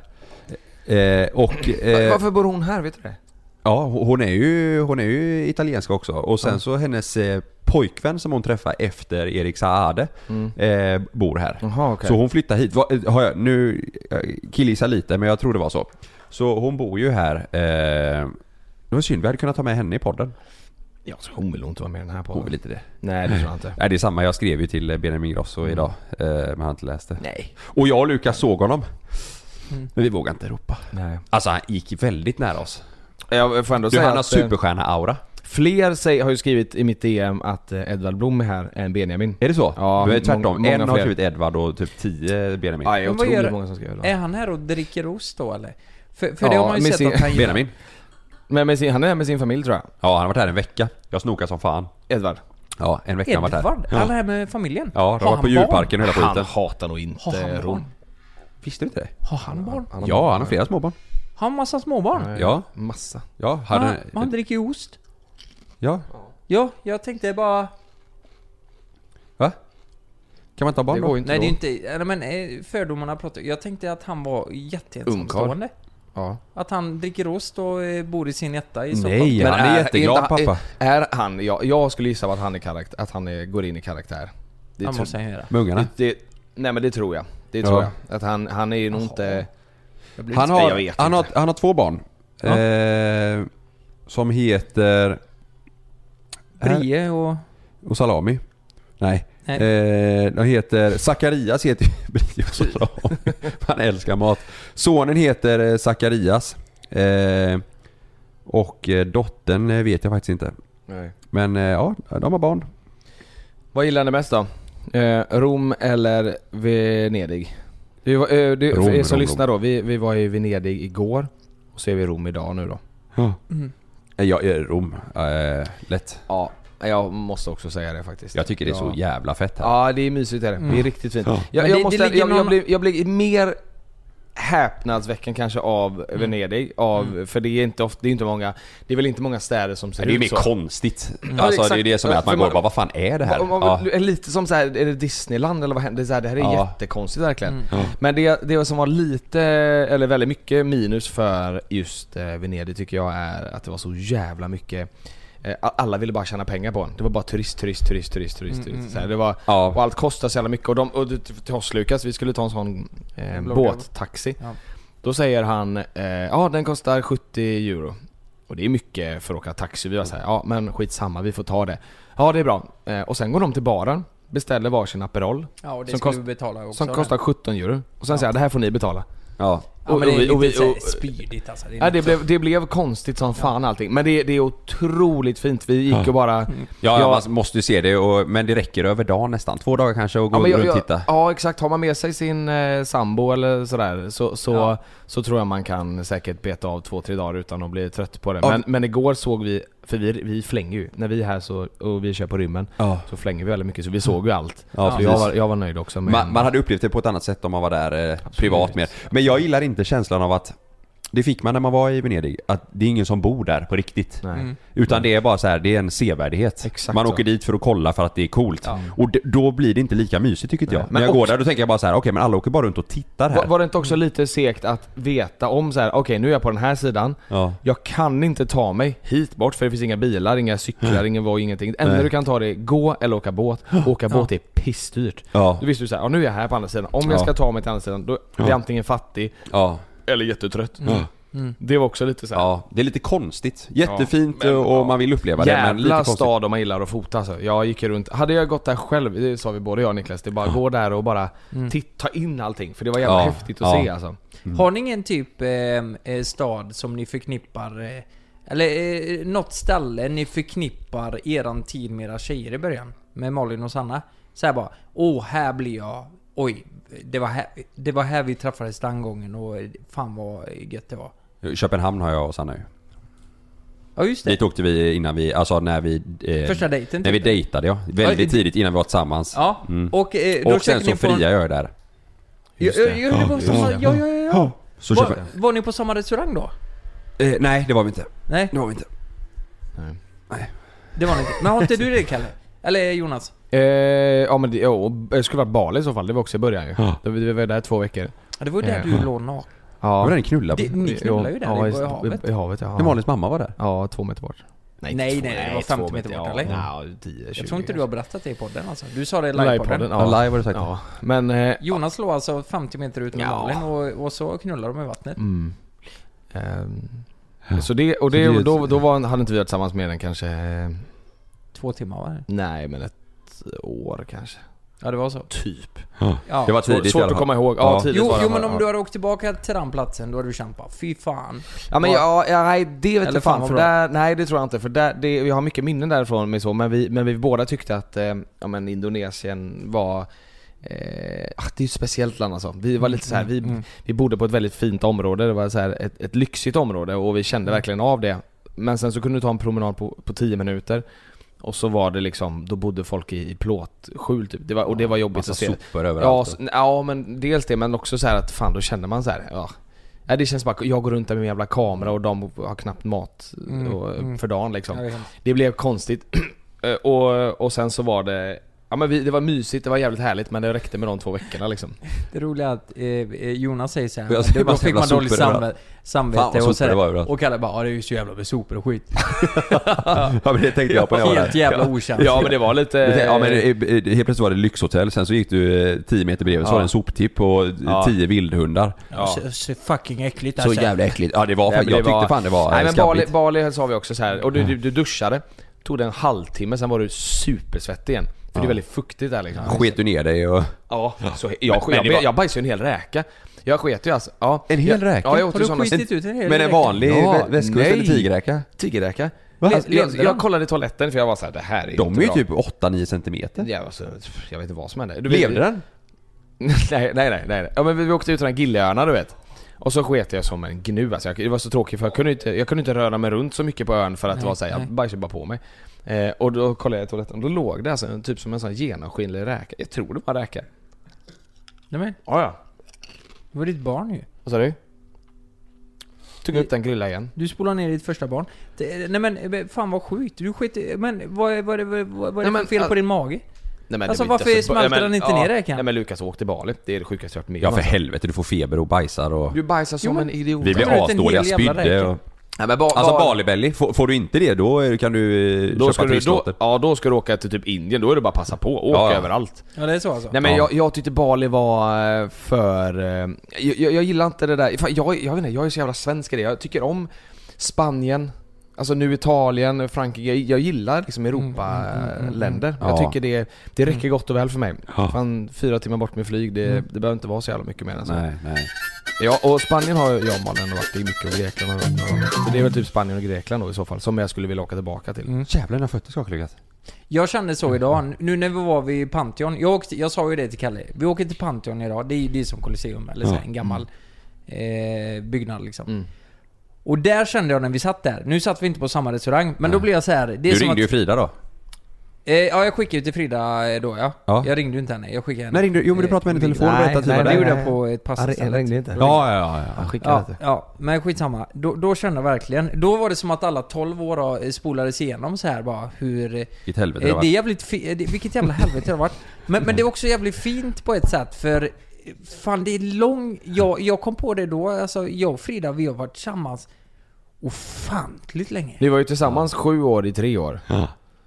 Eh, och... Eh,
Varför bor hon här? Vet du det?
Ja, hon är ju, hon är ju italiensk också. Och sen så hennes eh, pojkvän som hon träffar efter Erik Saade eh, bor här.
Mm. Jaha, okej.
Så hon flyttar hit. Va, eh, har jag, nu eh, killgissar lite men jag tror det var så. Så hon bor ju här. Eh, det var synd, vi hade kunnat ta med henne i podden.
Ja, så hon vill nog inte vara med i den här podden.
Hon vill inte det.
Nej, det tror jag inte.
Nej det är samma, jag skrev ju till eh, Benjamin Grosso idag. Eh, men han har inte läst det.
Mm. Nej.
Och jag och Lukas såg honom.
Mm.
Men vi vågade inte ropa.
Nej.
Alltså han gick väldigt nära oss.
Jag får ändå
Du,
säga
han har
att eh,
superstjärna-aura.
fler säger, har ju skrivit i mitt DM att eh, Edvard Blom är här än Benjamin.
Är det så?
Ja,
Ja, det är tvärtom.
mång- många
en har
fler.
skrivit Edvard och typ 10 Benjamin.
Ja, det är
Men vad gör-
otroligt många som skriver.
Är han här och dricker ost då eller? För, för det
Ja,
har man ju
men
sett
se-
att han gillar.
Benjamin?
Men med sin, han är med sin familj tror jag.
Ja, han har varit här en vecka. Jag snokar som fan.
Edvard.
Ja, en vecka har han varit
Edvard?
här.
Han är här med familjen?
Ja, de har
Har
varit på
han
djurparken och hela
Han
skiten.
hatar nog inte
Har han
Rom.
barn?
Visste du inte det?
Har han barn?
Han har
Ja, han har flera småbarn.
Har han massa småbarn?
Ja,
Massa.
ja.
Han,
Hade,
han dricker ju ost.
ja.
Ja, jag tänkte bara...
Va? Kan man inte ha barn
Det
då?
går ju inte
Nej, det
då.
är ju inte... Nej, men eh, fördomarna pratar... Jag tänkte att han var jätteensamstående.
Ja.
Att han dricker ost och eh, bor i sin etta i Stockholm.
Nej, han är jätteglad
inte han-
pappa.
Är, är han, jag, jag skulle gissa på att han är karaktär, att han är, går in i karaktär. Det
Han
tror-
måste han göra.
Med ungarna.
det, det, nej men det tror jag. Det
Ja.
tror jag. Att han, han är ju nog inte...
Han
Nej, jag
har,
vet
han, har,
inte.
han har två barn.
Ja.
Eh, som heter... Här-
Brie och...
Och salami. Nej.
Nej.
Eh, de heter... Zacharias heter ju [laughs] Brio och salami. Han älskar mat. Sonen heter eh, Zacharias. Eh, och eh, dottern eh, vet jag faktiskt inte.
Nej.
Men eh, ja, de har barn.
Vad gillar ni mest då? Eh, Rom eller Venedig? Vi var, eh, det,
Rom,
för er som
Rom,
lyssnar då, vi, vi var i Venedig igår och så är vi i Rom idag nu då.
Mm.
Eh, Jag är Rom. Eh, lätt.
Ja, jag måste också säga det faktiskt.
Jag tycker det är så
Ja.
jävla fett här.
Ja, det är mysigt är det. Det är
Mm.
riktigt fint.
Ja.
Jag,
Men
jag,
det-
måste,
det ligger
jag, jag,
någon-
blir, jag blir mer häpnadsväcken kanske av Venedig, av, för det är inte ofta, det är inte många, det är väl inte många städer som ser
Det är ju mer
ut så.
konstigt.
Ja,
Alltså det är
exakt.
ju det som är att man
För
går
man-
och bara vad fan är det här?
Om, om,
Ja.
är Lite som så här, är det Disneyland eller vad händer? Det, är så här, det här är
Ja.
jättekonstigt verkligen.
Mm.
Men det, det som var lite, eller väldigt mycket minus för just eh, Venedig tycker jag är att det var så jävla mycket eh, alla ville bara tjäna pengar på en. Det var bara turist, turist, turist, turist, turist. turist. så här, det var,
Ja.
Och allt kostar så jävla mycket. Och, de, och det- till oss Lukas, vi skulle ta en sån eh,
Blå
båttaxi.
Ja.
Då säger han, eh, ja den kostar 70 euro. Och det är mycket för att åka taxi. Vi var såhär, ja men skitsamma vi får ta det. Ja det är bra. Eh, och sen går de till baren, beställer varsin Aperol.
Ja, och det
Som
skulle
kost-
vi betala också.
Som kostar 17 euro. Och sen säger jag, det här får ni betala.
Ja.
Ja, men det är
och vi- och vi-
lite såhär
och-
spydigt alltså. Det är
Ja, det,
lite-
blev, det blev konstigt som fan allting. Men det, det är otroligt fint. Vi gick och bara...
Ja,
jag-
man måste ju se det, och, men det räcker över dagen nästan. Två dagar kanske och gå
Ja, men
runt
jag,
och
jag,
titta.
ja exakt, har man med sig sin eh, sambo eller sådär så, så,
Ja.
så tror jag man kan säkert beta av två, tre dagar utan att bli trött på det.
Ja.
Men, men igår såg vi, för vi, vi flänger ju, när vi är här så, och vi kör på rymmen
Ja.
så flänger vi väldigt mycket så vi såg ju allt.
Mm. Ja,
så
precis.
jag var, jag var nöjd också med
Man, man hade upplevt det på ett annat sätt om man var där eh, privat mer. Men jag gillar inte känslan av att det fick man när man var i Venedig, att det är ingen som bor där på riktigt.
Nej.
Utan det är bara så här, det är en sevärdhet.
Exakt
man
så.
åker dit för att kolla för att det är coolt. Och d- då blir det inte lika mysigt tycker inte jag.
Nej,
När
men
jag går
också-
där då tänker jag bara så här: okej men alla åker bara runt och tittar här.
Var, var det inte också lite segt att veta om så här: okej nu är jag på den här sidan,
Ja.
jag kan inte ta mig hit bort för det finns inga bilar, inga cyklar, ingen var, ingenting. Det enda
Mm. Nej.
du kan ta det är gå eller
[gasps]
åka båt. Åka båt är pissdyrt.
Ja.
Då visste du såhär, ja, nu är jag här på andra sidan. Om
Ja.
jag ska ta mig till andra sidan, då blir jag antingen fattig
Ja.
eller jättetrött.
Mm.
Det var också lite såhär,
ja. Det är lite konstigt. Jättefint
Ja, men-
och, och man vill uppleva det men lite
jävla
konstigt.
stad om man gillar att fota alltså. Jag gick ju runt, hade jag gått där själv, det sa vi både jag och Niklas, det är bara gå där och bara
Mm.
titt, ta in allting. För det var jävla
Ja.
häftigt att
Ja.
se alltså.
Mm.
Har ni ingen typ eh, eh, stad som ni förknippar... Eh, eller eh, något ställe ni förknippar eran tid med era tjejer i början? Med Malin och Sanna? Såhär bara, åh här blir jag... Oj, det var här, det var här vi träffades den gången och eh, fan vad gött det var.
Köpenhamn har jag och Sanna ju.
Ja just det.
Dit åkte vi innan vi, alltså när vi... eh,
Första dejten,
När vi
typ.
dejtade ja.
Ja,
Väldigt
i-
tidigt innan vi var tillsammans.
Ja, och, eh, då
och sen
käkade
så
ni på en-
friade jag där.
Ja, ja, ja, det var samma- ja, ja, ja, ja.
Så
Var,
köper-
var ni på samma restaurang då?
eh, nej det var vi inte.
Nej,
Det var vi inte.
det var ni inte. Men har inte du det Kalle? Eller Jonas?
Eh, ja men det, jo, det skulle varit Bali i så fall, det var också i början ju.
Ja.
Då Vi var där två veckor.
Ja, det var ju där
Ja.
du låg naken.
Ja.
Ja.
Men den knullade
Det-
vi.
Ni knullade ju där
ja,
i havet.
I, i havet ja.
När Malins mamma var där.
Ja, två meter bort.
Nej, nej, det var 50 meter bort, eller?
Ja, 10, 20
Jag tror inte du har berättat det i podden alltså. Du sa det i
Livepodden,
livepodden.
ja.
Live har du sagt.
ja. Men... Eh,
Jonas låg alltså 50 meter ut med
Ja.
Malin och, och så knullar de i vattnet.
mm, ehm, så det, och det,
Så det är-
då, då var, hade inte vi varit tillsammans mer än kanske...
Två timmar var det.
Nej men ett år kanske.
Ja det var så.
Typ.
Ja.
Det var tidigt i
Svårt
alla
att
fall.
komma ihåg.
Ja.
Ja, tidigt
jo,
var det,
jo men
ja.
om du hade åkt tillbaka till den platsen då hade du känt bara fy fan.
Ja men ja, ja, nej det vet
Eller
jag
fan
fan
vad
för
bra.
där, nej det tror jag inte för där, det, vi har mycket minnen därifrån med så men vi, men vi båda tyckte att eh, ja, men Indonesien var Eh, ah, det är ju ett speciellt land alltså. Vi var lite så här, vi,
Mm.
vi bodde på ett väldigt fint område, det var så här ett, ett lyxigt område och vi kände
Mm.
verkligen av det. Men sen så kunde du ta en promenad på, på 10 minuter och så var det liksom, då bodde folk i, i plåtskjul typ. Det var, och det var jobbigt
Massa
att se.
sopor
Ja,
överallt.
s- ja men dels det men också så här att fan då känner man så här. Ja. Nej, det känns bara, jag går runt där med min jävla kamera och de har knappt mat
Mm,
och, för dagen liksom.
Ja, det är
[clears throat] Det blev konstigt. Eh, och, och sen så var det Ja men vi, det var mysigt, det var jävligt härligt men det räckte med de två veckorna liksom.
Det roliga är att eh, eh, Jonas säger såhär,
Jag ser
då,
bara
då
så
fick
jävla
man dåligt
sopor
samve-
överallt. Fan,
samvete
vad
och
sopor det var överallt.
sådär. Och Kalle bara, ja det är ju så jävla med sopor och skit.
Ja men det tänkte jag på när jag var
Helt
där.
jävla okänsligt.
Ja men det var lite...
Det- [laughs] Ja men eh, eh, helt plötsligt var det lyxhotell, sen så gick du eh, 10 meter bredvid så var det en soptipp och eh, 10 vildhundar.
Ja. Så, så fucking äckligt
Så
alltså.
jävla äckligt. Ja det var,
Nej,
fan-
men
jag tyckte fan det var
Nej
eh,
men Bali,
skabbigt. Mm.
Bali sa vi också så här. och du, du, du duschade, tog det en halvtimme, sen var du supersvettig igen. För det är väldigt fuktigt där liksom.
Sket du ner dig och...
Ja, så jag,
men
jag,
det
jag,
var-
jag bajsade ju en hel räka. Jag sket ju alltså. Ja.
En hel
jag,
räka?
Ja, jag åt
Har
ju
du
sådana.
skitit ut en hel
Men en
räka?
vanlig
Ja,
vä- västkust
nej.
eller tigerräka?
Tigerräka?
Va?
Jag, jag,
Levde
jag
de?
kollade i toaletten för jag var så här, det här är
De
inte
är ju
bra.
typ 8-9 centimeter.
Ja, alltså, jag vet inte vad som hände. Du vet-
Levde den?
[laughs] nej, nej, nej, nej. Ja, men vi, vi åkte ut till den här Gilleöarna du vet. Och så sket jag som en gnu alltså, jag, Det var så tråkigt för jag kunde, inte, jag kunde inte röra mig runt så mycket på ön för att det var såhär, jag bajsade bara på mig. Eh, och då kollade jag i toaletten och då låg det alltså en- typ som en sån genomskinlig räka. Jag tror det var räka.
Nej men,
Ja, ja.
det var ditt barn ju.
Vad sa du? Tog upp den grilla igen.
Du spolar ner ditt första barn. Det, nej men, eh, fan vad sjukt. Du skit eh, Men vad, vad, vad, vad, vad är
Nej,
det
men,
för fel
all-
på din mage?
Nej, men
Alltså,
det var inte-
varför smalter
Nej, men-
den inte ner räkan?
Nej men Lukas åkte till Bali, det är det sjukaste jag varit med
Ja
om,
för
alltså.
helvete, du får feber och bajsar och...
Du bajsar som
Jo, men-
en idiot.
Vi
tar
blev
ut en
asdåliga,
hel jävla
spydde
räka.
och...
Nej, men ba,
Alltså
ba-
Balibelly, får, får du inte det då eh, kan du eh,
då
köpa
ska du, då,
trisslotter.
Ja då ska du åka till typ Indien, då är det bara att passa på. Åka
Ja, ja.
överallt.
Ja det är så alltså.
Nej men
Ja.
jag, jag tyckte Bali var eh, för... eh, Jag, jag, jag gillar inte det där. Fan, jag, jag vet inte, jag är så jävla svensk i det. Jag tycker om Spanien, alltså nu Italien, Frankrike. Jag, jag gillar liksom
Mm,
Europaländer. Jag
Ja. Mm.
tycker det, det räcker gott och väl för mig.
Ja.
Fan, fyra timmar bort med flyg, det, det behöver inte vara så jävla mycket mer än så.
Mm. Nej, nej.
Ja, och Spanien har jag och Malin varit i mycket och Grekland har varit några gånger. Så det är väl typ Spanien och Grekland då i så fall, som jag skulle vilja åka tillbaka till.
Mm.
Alltså,
Jävlar dina fötter skakar Lukas.
Jag kände så idag, nu när vi var vid Pantheon. Jag, åkte, jag sa ju det till Kalle. Vi åker till Pantheon idag. Det är ju det är som Colosseum, eller så här, en gammal eh, byggnad liksom. Och där kände jag när vi satt där. Nu satt vi inte på samma restaurang, men då blev jag så här. Det är
Du
som
ringde
att,
ju Frida då.
Eh, ja, jag skickade ju till Frida eh, då ja.
Ja.
Jag ringde ju inte henne. Jag skickade henne.
När ringde du? Jo, men du
Eh,
pratade med henne i telefon och
nej,
berättade att du
nej,
var
det
där.
gjorde jag på ett pass
Han
istället.
ringde inte.
Ja, ja, ja.
Han skickade
Ja,
lite.
ja, men skitsamma. Då, då kände jag verkligen. Då var det som att alla 12 år då, eh, spolades igenom så här bara hur... eh,
Vilket helvete det
Eh, Det är
var.
jävligt fi- eh, det, Vilket jävla helvete det har varit. Men, men det är också jävligt fint på ett sätt för eh, Fan det är lång... Jag, jag kom på det då, alltså jag och Frida vi har varit tillsammans ofantligt länge.
Ni var ju tillsammans sju år i tre år.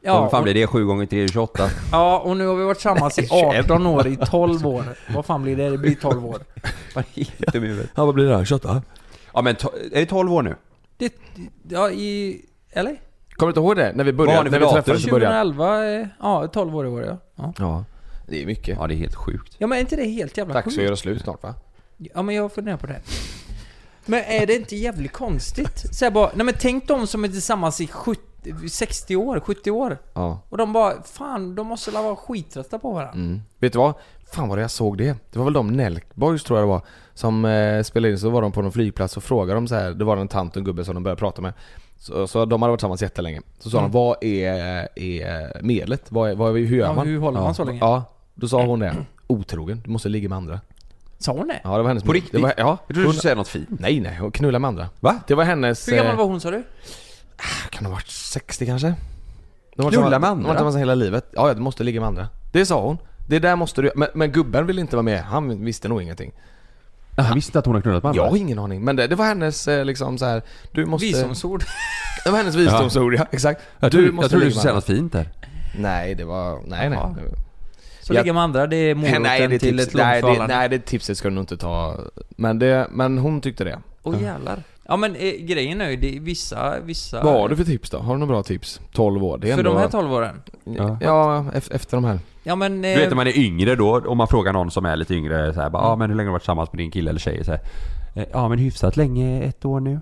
Ja, fan
och,
blir det 7 gånger 3 är 28?
ja, och nu har vi varit tillsammans i 18 år, i 12 år. Vad fan blir det? Det blir 12 år.
[laughs] Vad är det i huvudet?
Ja vad blir det här? 28?
Ja men to- är det 12 år nu?
Det, ja, i... Eller?
Kommer du inte ihåg det? När vi
Vad har
började,
ni
när
för
vi
datum?
träffades i början.
2011, eh, ja 12 år i år ja. ja.
Ja. Det är mycket.
Ja det är helt sjukt.
Ja men är inte det helt jävla
Dags
sjukt?
att göra slut snart va?
Ja men jag funderar på det. Men är det inte jävligt konstigt? Så jag bara, nej men tänk de som är tillsammans i 70, 60 år, 70 år.
Ja.
Och de bara, fan de måste la vara skittrötta på varandra.
Mm. Vet du vad? Fan vad jag såg det. Det var väl de Nelkboys tror jag det var. Som eh, spelade in, så var de på någon flygplats och frågade dem så här. Det var en tant och en gubbe som de började prata med. Så, så de hade varit tillsammans jättelänge. Så sa de, vad är, är medlet? Vad är, vad är, hur gör
Ja,
man?
hur håller man
ja.
så länge?
Ja, då sa hon det. Otrogen, du måste ligga med andra.
Sa hon det?
Ja, det var hennes
På
det
riktigt?
Var, ja.
Jag trodde du skulle säga något fint.
Nej nej, hon knulla med andra.
Va?
Det var hennes...
Hur gammal
eh,
var hon sa du?
Kan ha varit 60 kanske? De har
Knulla
varit-
med andra?
De har varit tillsammans hela livet. Ja, ja, du måste ligga med andra. Det sa hon. Det där måste du Men, men gubben ville inte vara med. Han visste nog ingenting.
Han visste att hon har knullat med
Jag har ingen aning. Men det, det var hennes eh, liksom så här. Du måste...
Visdomsord.
Det var hennes visdomsord ja. Exakt.
Jag trodde jag trodde du
ligga
skulle
med
säga något fint
andra.
där.
Nej, det var... Nej nej.
Jaha.
Så
Jag-
ligger med andra, det är
Nej,
moroten
nej, det,
till
tips,
ett långt
nej, det,
förhållande.
nej, det tipset ska du nog inte ta. Men, det, men hon tyckte det.
Åh jävlar. Ja men eh, grejen är ju, det är vissa, vissa...
Vad har du för tips då? Har du några bra tips? 12 år? Det är
För
ändå...
de här 12 åren?
Ja, ja ef- efter de här.
Ja men...
Du
eh,
vet när man är yngre då, om man frågar någon som är lite yngre så här, bara, ah, men hur länge har du varit tillsammans med din kille eller tjej? Så här, "Eh, ja men hyfsat länge, ett år nu.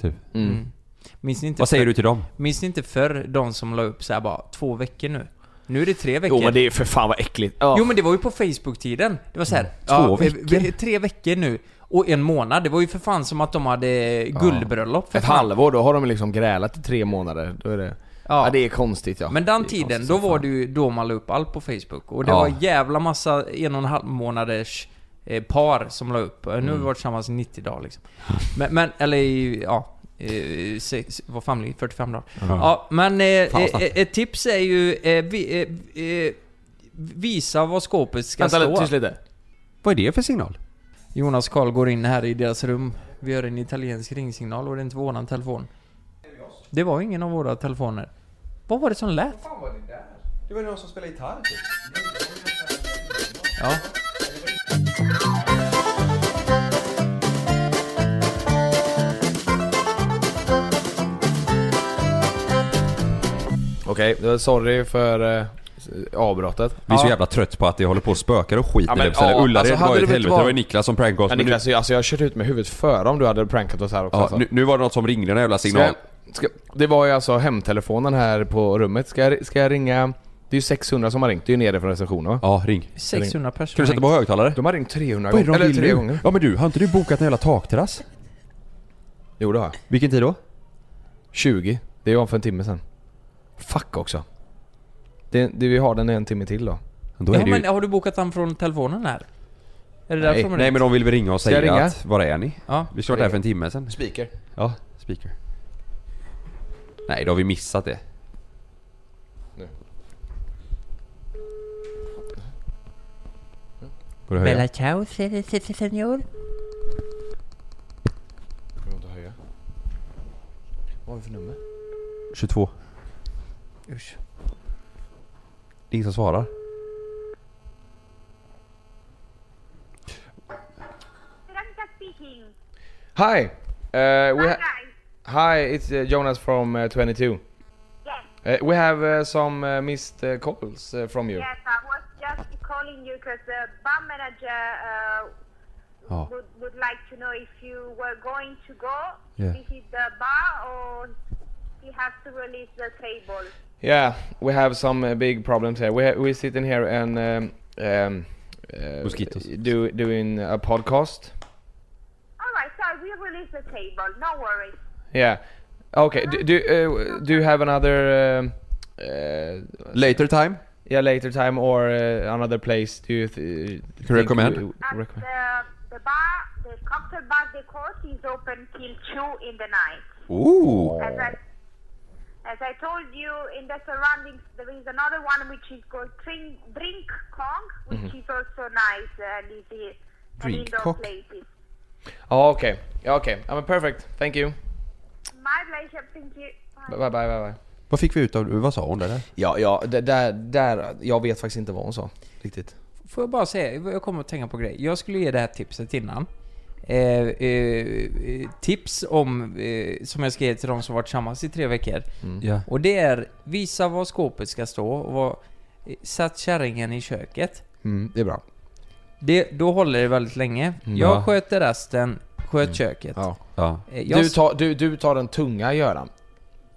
Typ.
mm.
Mm.
minns ni inte
Vad säger
förr-
du till dem?
Minns ni inte förr de som la upp så här bara två veckor nu? Nu är det tre veckor.
Jo men det är för fan vad äckligt. Ja. Mm.
Jo men det var ju på Facebook-tiden. Det var så här,
Två
vi-
veckor?
vi- Tre veckor nu och en månad. Det var ju för fan som att de hade guldbröllop för
Ett
fan.
halvår, då har de liksom grälat i tre månader. Då är det... Ja.
Ja.
det är konstigt ja.
Men den
Det är
tiden,
konstigt
då
som
var
fan.
det ju då man la upp allt på Facebook. Och det
Ja.
var jävla massa en och en halv månaders eh, par som la upp. Eh,
Mm.
Nu har vi varit tillsammans i 90 dagar liksom. Men, men eller i, ja... eh, Sex, vad fan blir det? 45 dagar. Ja, men eh, eh, ett tips är ju... Eh, vi, eh, eh, visa vad skåpet ska
Vänta
stå.
lite, tyst lite.
Vad är det för signal?
Jonas och Karl går in här i deras rum. Vi hör en italiensk ringsignal och det är inte våran telefon. Det var ingen av våra telefoner. Vad var det som lät?
Det var någon som spelade gitarr typ.
Ja.
Okej, okay, sorry för eh, avbrottet.
Vi är så jävla trött på att det håller på och spökar och skiter
Ja, men,
i det. Så här,
ja,
Ullared
alltså,
var
hade
ju ett
det
helvete.
varit-
Det var ju Niklas som prankade oss. men
Ja,
nu-
Niklas, jag- alltså jag har kört ut med huvudet före om du hade prankat oss här också.
Ja,
alltså.
nu, nu var det något som ringde, en jävla
Ska
signal.
jag, ska, det var ju alltså hemtelefonen här på rummet. Ska jag, ska jag ringa? Det är ju 600 som har ringt. Det är ju nere från receptionen va?
Ja, ring.
600
Ska du
personer.
sätta på högtalare?
De har ringt 300
Vad är det
gånger.
de
Eller
vill
tre
nu?
gånger.
Ja men du, har inte du bokat en jävla takterrass?
Jo det har jag.
Vilken tid då?
20. Det är ju om för en timme sen. Fuck också. Det, det, vi har den en timme till då.
Då
ja,
är det
men
ju...
har du bokat den från telefonen här? Är det
Nej,
därför de
nej
ringt?
men de vill väl ringa och
Ska jag
säga
ringa?
att, var är ni?
Ja.
Vi ska vara där för en timme sen.
Speaker.
Ja, speaker. Nej, då har vi missat det.
Nu.
Får du höja?
ciao, se- se- se- senor.
Jag inte höja. Vad har vi för nummer?
22.
Usch.
Det är ingen som svarar.
Veronica speaking.
Hi! Uh, we ha
Hi.
hi, it's uh, Jonas from uh, 22.
Yes,
Uh, we have uh, some uh, missed uh, calls uh, from you.
yes. I was just calling you because the bar manager uh,
Ja.
would, would like to know if you were going to go
Yeah.
visit the bar or he has to release the table.
Yeah, we have some uh, big problems here. We we sit in here and um, um, uh,
Mosquitoes.
do doing a podcast.
All right, so I will release the table. No worries.
Yeah. Okay. Do do, uh, do you have another um, uh,
Later time?
yeah later time or uh, another place? Do you th- think
recommend?
we-
At
recommend?
The, the bar, the cocktail bar, the court is open till two in the night.
Ooh!
As I, as I told you, in the surroundings there is another one which is called Drink, drink Kong, which is also nice and easy.
Mm-hmm. Drink
and indoor
Kong.
places.
Oh, okay. Yeah, Okay. I'm a perfect. Thank you.
My pleasure. Thank you. Bye.
Bye bye bye bye.
Vad fick vi ut av Vad sa hon där?
Ja, ja, det där, där, jag vet faktiskt inte vad hon sa riktigt.
Får jag bara säga, jag kommer att tänka på en grej. Jag skulle ge det här tipset innan. Eh, eh, tips om, eh, som jag ska ge till de som varit tillsammans i tre veckor.
Mm.
Ja.
Och det är, visa var skåpet ska stå och vad, eh, satt kärringen i köket.
Mm, det är bra.
Det, då håller det väldigt länge. Jag sköter resten, sköt köket.
Ja.
Ja.
Eh, Jag,
Du tar, du, du tar den tunga Göran.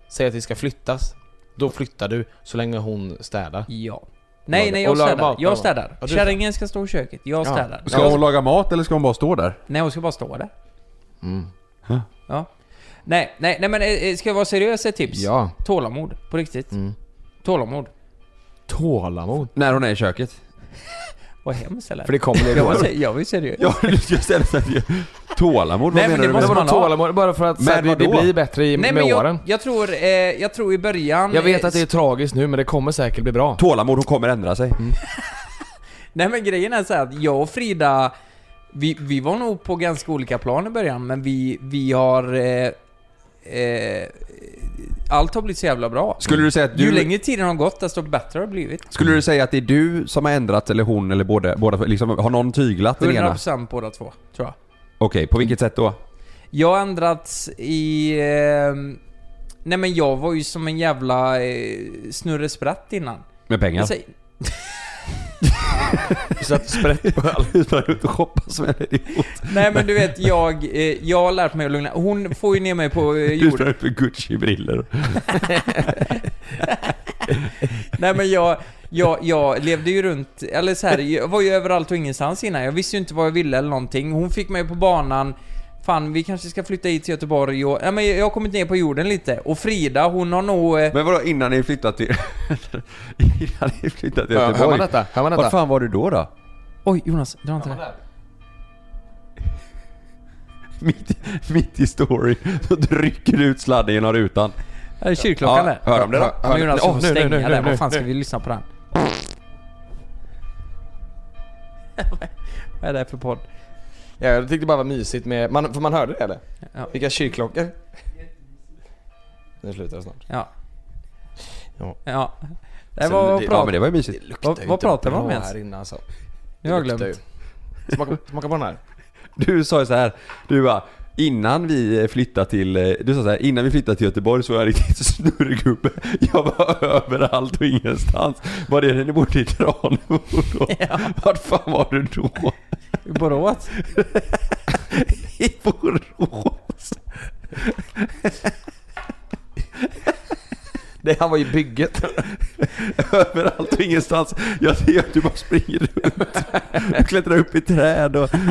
Säg att vi ska flyttas. Då flyttar du så länge hon städar.
Ja. Nej, nej
Och
jag
laga
städar.
mat, laga
Jag
mat.
städar.
Ja, du
Kärringen ska stå i köket, jag
Ja.
städar.
Ska hon laga mat eller ska hon bara stå där?
Nej, hon ska bara stå där.
Mm.
Ja. Nej, nej, nej men eh, eh, ska jag vara seriös ett tips?
Ja.
Tålamod, på riktigt.
Mm.
Tålamod.
Tålamod.
När hon är i köket?
Vad hemskt eller?
För
[laughs]
det kommer det
jag, var,
då.
se- jag var ju seriös.
Ja, du ska ställa sig Tålamod, vad
Nej, men
menar
det
du?
måste
med-
man ha.
Tålamod bara för att så här,
Men
det, det
vadå?
blir bättre
Nej
i, med
men jag,
åren.
jag tror, eh, jag tror i början...
Jag vet
eh,
att det är tragiskt nu men det kommer säkert bli bra.
Tålamod, hon kommer ändra sig.
Nej men grejen är så här att jag och Frida, vi, vi var nog på ganska olika plan i början men vi, vi har... Eh, eh, allt har blivit så jävla bra.
Skulle du säga att
Ju
du...
längre tiden har gått desto bättre har det blivit.
Skulle du säga att det är du som har ändrat eller hon eller båda? båda liksom, har någon tyglat den ena?
100% båda två, tror jag.
Okej, på vilket sätt då?
Jag har ändrats i... Eh, nej men jag var ju som en jävla eh, snurresprätt innan.
Med pengar?
Jag säger,
Så att sprätt [laughs] på allt.
Du sprang ut och shoppade som en idiot.
nej men du vet, jag, eh, jag har lärt mig att lugna. Hon får ju ner mig på eh,
Du
jorden.
sprang ut med Gucci-brillor.
Nej men jag, jag, jag levde ju runt, eller så här, jag var ju överallt och ingenstans innan. Jag visste ju inte vad jag ville eller någonting. Hon fick mig på banan, fan vi kanske ska flytta hit till Göteborg och... Nej men jag har kommit ner på jorden lite. Och Frida hon har nog... eh,
Men vadå innan ni flyttat till... [laughs] innan ni flyttat till
Hör
Göteborg?
hör man detta? Hör man
Var
detta?
fan var du då då?
Oj Jonas, dra inte det här.
Mitt, mitt i story så rycker du ut sladden genom rutan.
Här är kyrkklockan där.
hör de det då?
Men Jonas,
Åh,
oh,
nu, nu,
stänga
nu,
den.
nu,
Vad fan ska
nu.
vi lyssna på den? [laughs] Vad är det här för podd?
Ja, jag tyckte det bara var mysigt med... Man, för man hörde det eller?
Ja.
Vilka kyrkklockor? Nu slutar det snart.
Ja.
Ja.
ja. Det
Sen
var
det-
bra.
Ja men det var ju mysigt.
Vad-
Det är
vad
inte
pratar vi
bra
om ens?
här inne alltså.
Nu har jag
luktar
glömt.
ju.
[laughs]
Smaka, smaka på den här.
Du sa ju så här. du bara Innan vi eh, flyttade till, eh, du sa så här, innan vi flyttade till Göteborg så var jag riktigt [laughs] snurrgubbe. Jag var överallt och ingenstans. Var det när ni bodde i Tranemo då? Vart fan var du då?
I
[laughs]
Borås?
I Borås?
Det här var ju bygget.
Överallt och ingenstans. Jag ser att du bara springer runt. Du klättrar upp i träd och... [laughs]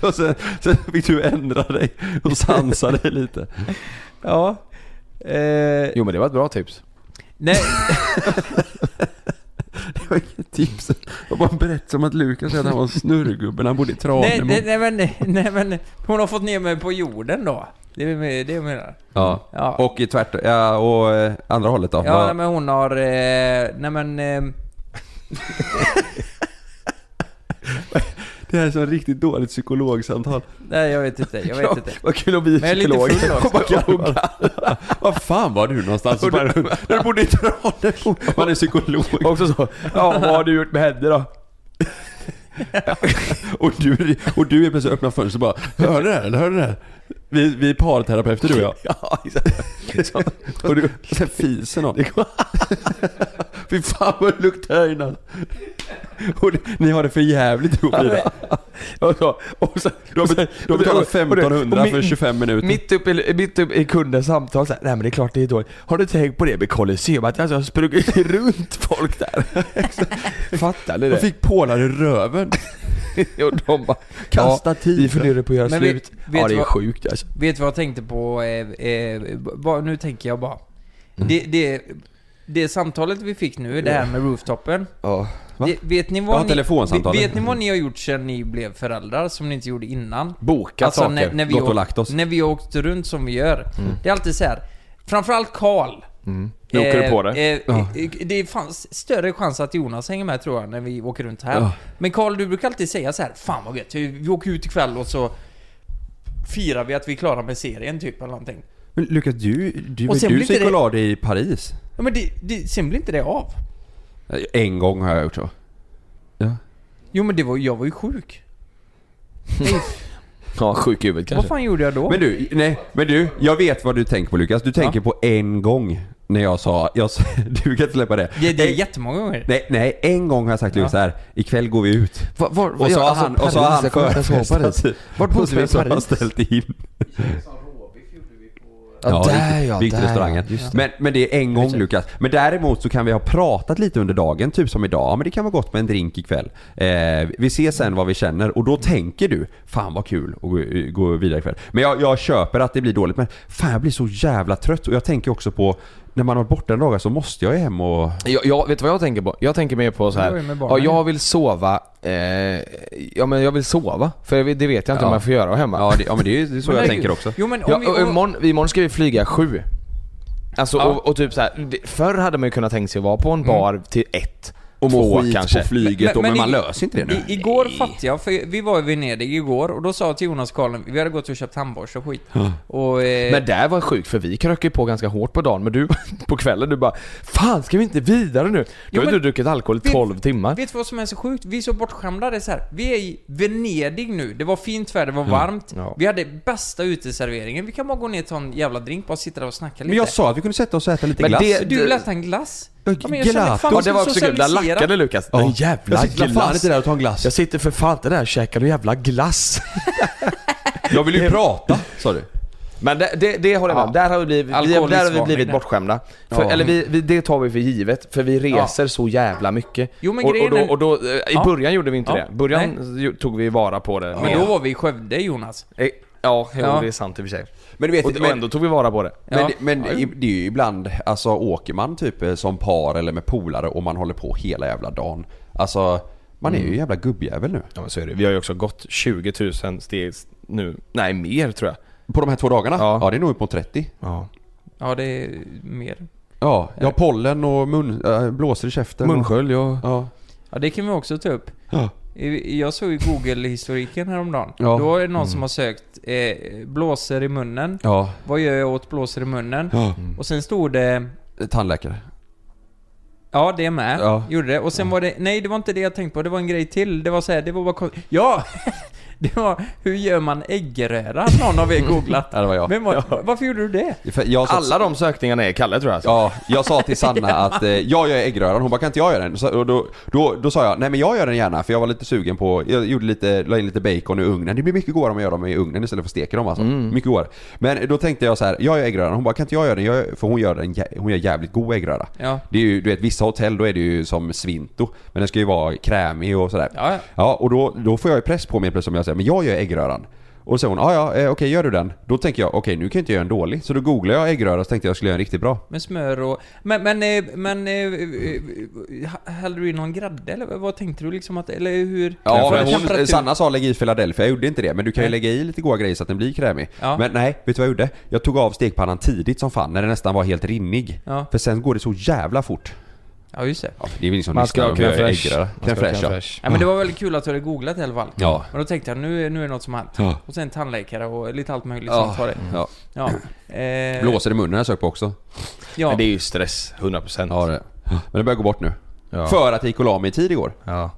Och sen, sen fick du ändra dig och sansa dig lite.
Ja. Eh,
Jo men det var ett bra tips.
[laughs]
nej,
Det var inget tips. Det var bara en berättelse om att Lukas att han var snurrgubben, han bodde i
nej,
Tranemo.
nej, nej, men, [laughs] nej men hon har fått ner mig på jorden då. Det är det jag menar.
Ja.
Ja.
Och i tvärt... Ja, och eh, andra hållet då.
Ja,
Vad-
nej, men hon har... Eh, nej men... Eh,
Det här är så riktigt dåligt psykologsamtal.
nej, jag vet inte.
[laughs]
Jag vet inte.
Vad kul att bli
Men jag är lite
psykolog.
full
[laughs]
också.
Och bara kan- Vad fan var du någonstans? Så bara, När du bodde i Tranemo. [laughs] Man är psykolog.
Också så. Ja, vad har du gjort med henne då?
[laughs] Och du, och du är plötsligt öppna fönstret och bara Hör ni det här? Eller Hör ni det här? Vi, vi är parterapeuter du och jag.
Ja, exakt.
Liksom. Och du, och sen fiser någon. Fy fan vad det luktar här innan. Och det- ni har det för jävligt ihop Ida.
Och så, och så,
Du har, bet, du har betalat
och det- och det-
1500
och
för
mitt-
25 minuter.
Mitt upp, i, mitt upp i kundens samtal så här, nej men det är klart det är dåligt. Har du tänkt på det med Colosseum? Att jag alltså har sprungit [laughs] runt
[laughs]
folk där. Fattar ni
Jag
det?
fick pålar i röven.
Och de bara,
Kasta
ja,
tid.
Vi funderar på att göra
Men vet-
slut.
vet
ja det
du
är
vad-
sjukt alltså.
Vet du vad jag tänkte på? Eh, eh, bara, nu tänker jag bara.
Mm.
Det, det, det samtalet vi fick nu, det här med rooftopen.
Ja.
Va?
Det, vet, ni
Ja,
vad ni,
telefonsamtalet.
vet ni vad ni har gjort sedan ni blev föräldrar som ni inte gjorde innan?
Boka
Alltså
saker.
när, när, vi
Gått och
åkt-
lagt oss. Mm.
när vi har åkt runt som vi gör. Det är alltid så här. Framförallt Karl.
Nu åker du på det.
Eh, eh, det fanns större chans att Jonas hänger med tror jag när vi åker runt här.
Ja.
Men Karl, du brukar alltid säga så här. Fan vad gött, vi, vi åker ut ikväll och så firar vi att vi är klara med serien typ eller någonting.
Men Lukas, du, du,
Och sen
du
blir inte det-
psykolog i Paris.
Ja, men det, det, sen blir inte det av.
En gång har jag gjort så. Ja.
Jo men det var, jag var ju sjuk.
Ja, sjuk i huvudet
Vad
kanske.
fan gjorde jag då?
Men du, nej, men du, jag vet vad du tänker på Lukas. Du tänker på en gång när jag sa, jag, sa- [laughs] du kan inte släppa det.
det, det är
En-
jättemånga gånger.
Nej, nej, en gång har jag sagt till Lukas så här, ikväll går vi ut.
Var, var, alltså,
Och så har han, och så har han [laughs] förfestat.
Paris. Vart
Och
bodde
så
vi i
så har han
Paris?
ställt in.
[laughs] Ja, där
riktigt-
ja,
riktigt
där
restaurangen.
ja, just det.
Men, men det är en gång Lukas. Men däremot så kan vi ha pratat lite under dagen, typ som idag. Ja men det kan vara gott med en drink ikväll. Eh, vi ser sen vad vi känner och då tänker du, fan vad kul att gå, eh, gå vidare ikväll. Men jag, jag köper att det blir dåligt men fan jag blir så jävla trött och jag tänker också på när man har varit borta några dagar så måste jag ju hem och...
Jag, jag, vet du vad jag tänker på? Jag tänker mer på så
Det var ju
här.
med
Ja,
barnen.
jag vill sova. Eh, ja men jag vill sova. För jag vet- det vet jag inte
Ja.
om jag får göra hemma.
Ja, det, ja men det är ju det är så
Men
jag
herregud.
tänker också.
Jo men om
Ja,
vi...
och imorgon, imorgon ska vi flyga sju. Alltså
Ja. Mm.
och, och typ så här, det- förr hade man ju kunnat tänka sig att vara på en bar till ett,
Och
två
må skit
kanske.
på flyget och men,
i-
man löser inte det nu.
I, igår fattade jag, för vi var i Venedig igår och då sa jag till Jonas och Karlen, vi hade gått och köpt tandborste och skit. Och, eh,
Men där var sjukt för vi krökade ju på ganska hårt på dagen men du [laughs] på kvällen du bara Fan ska vi inte vidare nu?
Jo,
Då har
men-
du druckit alkohol i
Vet-
12 timmar.
Vet du vad som är så sjukt? Vi är så bortskämda. Det är så här. Vi är i Venedig nu. Det var fint väder, det var varmt.
Ja.
Vi hade bästa uteserveringen. Vi kan bara gå ner och ta en jävla drink, bara sitta där och snacka lite.
Men jag sa att vi kunde sätta oss och äta lite
Men
glass.
det-
Du vill äta en glass?
Ja, gelato.
Ja,
vad
det var också kul, där
socialiserad.
lackade Lukas. Den jävla
jag sitter fan
glass.
inte där och tar en glass.
Jag sitter för fan inte där och käkar en jävla glass.
Jag vill ju prata, sa du.
Men det, det, det håller jag med om. Där har vi blivit, vi,
Alkoholism
där har vi
var
blivit
min.
bortskämda. För,
Ja.
Eller vi, vi, det tar vi för givet, för vi reser så jävla mycket.
Jo, men
och, och
grejen
då,
är-
och då, eh, I
Ja.
början gjorde vi inte
Ja.
det. I början ju- tog vi vara på det.
Men då var vi i Skövde Jonas.
Eh, Ja, jo,
Ja.
det är sant i och för sig.
Men du vet
Och,
inte,
och ändå tog vi vara på det.
Ja.
Men, men i- det är ju ibland, alltså åker man typ eh, som par eller med polare och man håller på hela jävla dagen. Alltså, man är ju jävla gubbjävel nu.
Ja men så är det. Vi har ju också gått 20 000 steg nu. Nej, mer tror jag.
På de här två dagarna? Ja,
Ja.
det är nog upp mot 30.
Ja.
Ja, det är mer.
Ja, jag har pollen och mun, äh, blåser i käften.
Munskölj och...
Ja.
Ja, det kan vi också ta upp.
Ja.
Jag såg ju Google-historiken häromdagen.
Ja. Mm.
Då är det någon som har sökt eh, blåser i munnen.
Ja.
Vad gör jag åt blåser i munnen?
Ja.
Mm.
Och sen stod det...
Tandläkare.
Ja, det med.
Ja.
Gjorde det. Och sen var det... Nej, det var inte det jag tänkte på. Det var en grej till. Det var så här, det var bara... kon- Ja! [laughs] Det var... Hur gör man äggröra? Någon av er googlat.
[laughs] Ja, det var jag.
Vem var, Varför gjorde du det?
För Jag sa,
Alla de sökningarna är Kalle tror jag. alltså.
Ja, jag sa
[laughs]
till Sanna att eh, jag gör äggröran, hon bara kan inte jag göra den? Så, och då, då, då sa jag, nej men jag gör den gärna för jag var lite sugen på, jag gjorde lite, la in lite bacon i ugnen. Det blir mycket godare om jag gör dem i ugnen istället för att steka dem alltså.
Mm.
Mycket godare. Men då tänkte jag så här, jag gör äggröran, hon bara kan inte jag göra den? Jag, gör- för hon gör, den, jä- hon gör jävligt god äggröra.
Ja.
Det är ju, du vet vissa hotell då är det ju som svinto, men den ska ju vara krämig och sådär.
Ja, ja.
Ja, och då, då får jag ju press på mig plötsligt om jag säger men jag gör äggröran. Och så säger hon, "Ah, ja, eh, okej gör du den? Då tänker jag, okej nu kan jag inte göra en dålig. Så då googlade jag äggröra och så tänkte jag skulle göra en riktigt bra.
Med smör och... Men, men, eh, men... eh, eh, Hällde du i någon grädde eller vad tänkte du liksom att... Eller hur?
Ja,
För
men
temperatur-
hon, Sanna sa lägg i Philadelphia, jag gjorde inte det. Men du kan ju
Nej.
lägga i lite goda grejer så att den blir krämig.
Ja.
Men nej, vet du vad jag gjorde? Jag tog av stekpannan tidigt som fan, när den nästan var helt rinnig.
Ja.
För sen går det så jävla fort.
Ja, just det.
Ja, det är väl liksom
Man ska ha
listan om
crème
jag
fraîche.
äggröra.
Man
Crème
ska ha
fraîche,
crème
ja.
fraîche.
Ja, men det var väldigt kul att du hade googlat i alla fall.
Ja.
Men då tänkte jag, nu, är- nu är det något som har hänt.
Ja.
Och sen tandläkare och lite allt möjligt
Ja,
sånt var det.
ja.
Ja. Eh,
Blåser i munnen har jag sökt på också.
Ja.
Men det är ju stress, 100%.
Ja, det. Men det börjar gå bort nu.
Ja.
För att jag gick och la mig i tid igår.
Ja.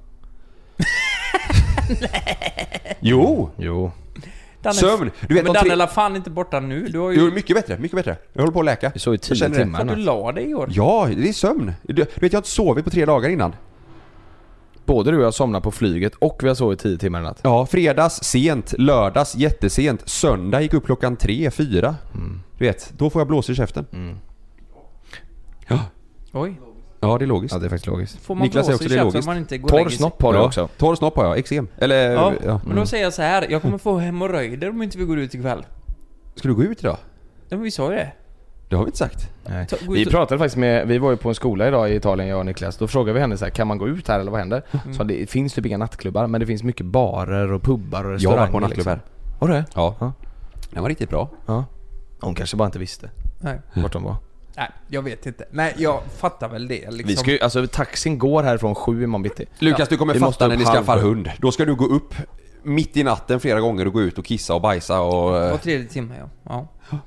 Jo!
Jo.
Danne,
Sömn! Du
Du
vet,
men
de tre-
Danne la fan inte borta nu. Du har ju...
Jo, mycket bättre, mycket bättre. Jag håller på att läka.
Vi såg ju tio
Jag känner det.
timmar.
för att du la dig igår.
Ja, det är sömn. Du, du vet, jag har inte sovit på tre dagar innan.
Både du och jag somnade på flyget och vi har sovit 10 timmar i natt.
Ja, fredags sent, lördags jättesent, söndag gick upp klockan tre, fyra.
Mm.
Du vet, då får jag blåsa i käften. Ja.
Oj.
ja, det är logiskt.
Ja, det är faktiskt logiskt.
Får man
Niklas
Niklas
säger
blåsa
också
i
det är
käften om
logiskt.
man inte går och
Torr
lägger sig?
snopp har du
ja.
också.
Torr snopp har jag, eksem. Eller,
Ja.
ja. Mm.
Men då säger jag så här. jag kommer få hemorrojder om inte vi går ut ikväll.
Ska du gå ut idag?
Ja, men vi sa ju det.
Det har vi inte sagt.
Nej.
Ta- gå ut
Vi
och-
pratade faktiskt med, vi var ju på en skola idag i Italien jag och Niklas. Då frågade vi henne så här, kan man gå ut här eller vad händer?
Mm.
Så det finns typ inga nattklubbar men det finns mycket barer och pubbar och
Jag
restauranger.
har varit på en nattklubb här.
Har du det?
Ja.
Ja.
Den var riktigt bra.
Ja. Hon kanske bara inte visste
Nej.
vart de var.
Nej, jag vet inte. Nej, jag fattar väl det liksom.
Vi ska ju, alltså taxin går härifrån sju imorgon bitti.
Lukas, du kommer
Vi måste
fatta när
upp
ni
halv.
skaffar hund. Då ska du gå upp mitt i natten flera gånger och gå ut och kissa och bajsa och... eh,
Var tredje timme, ja. ja.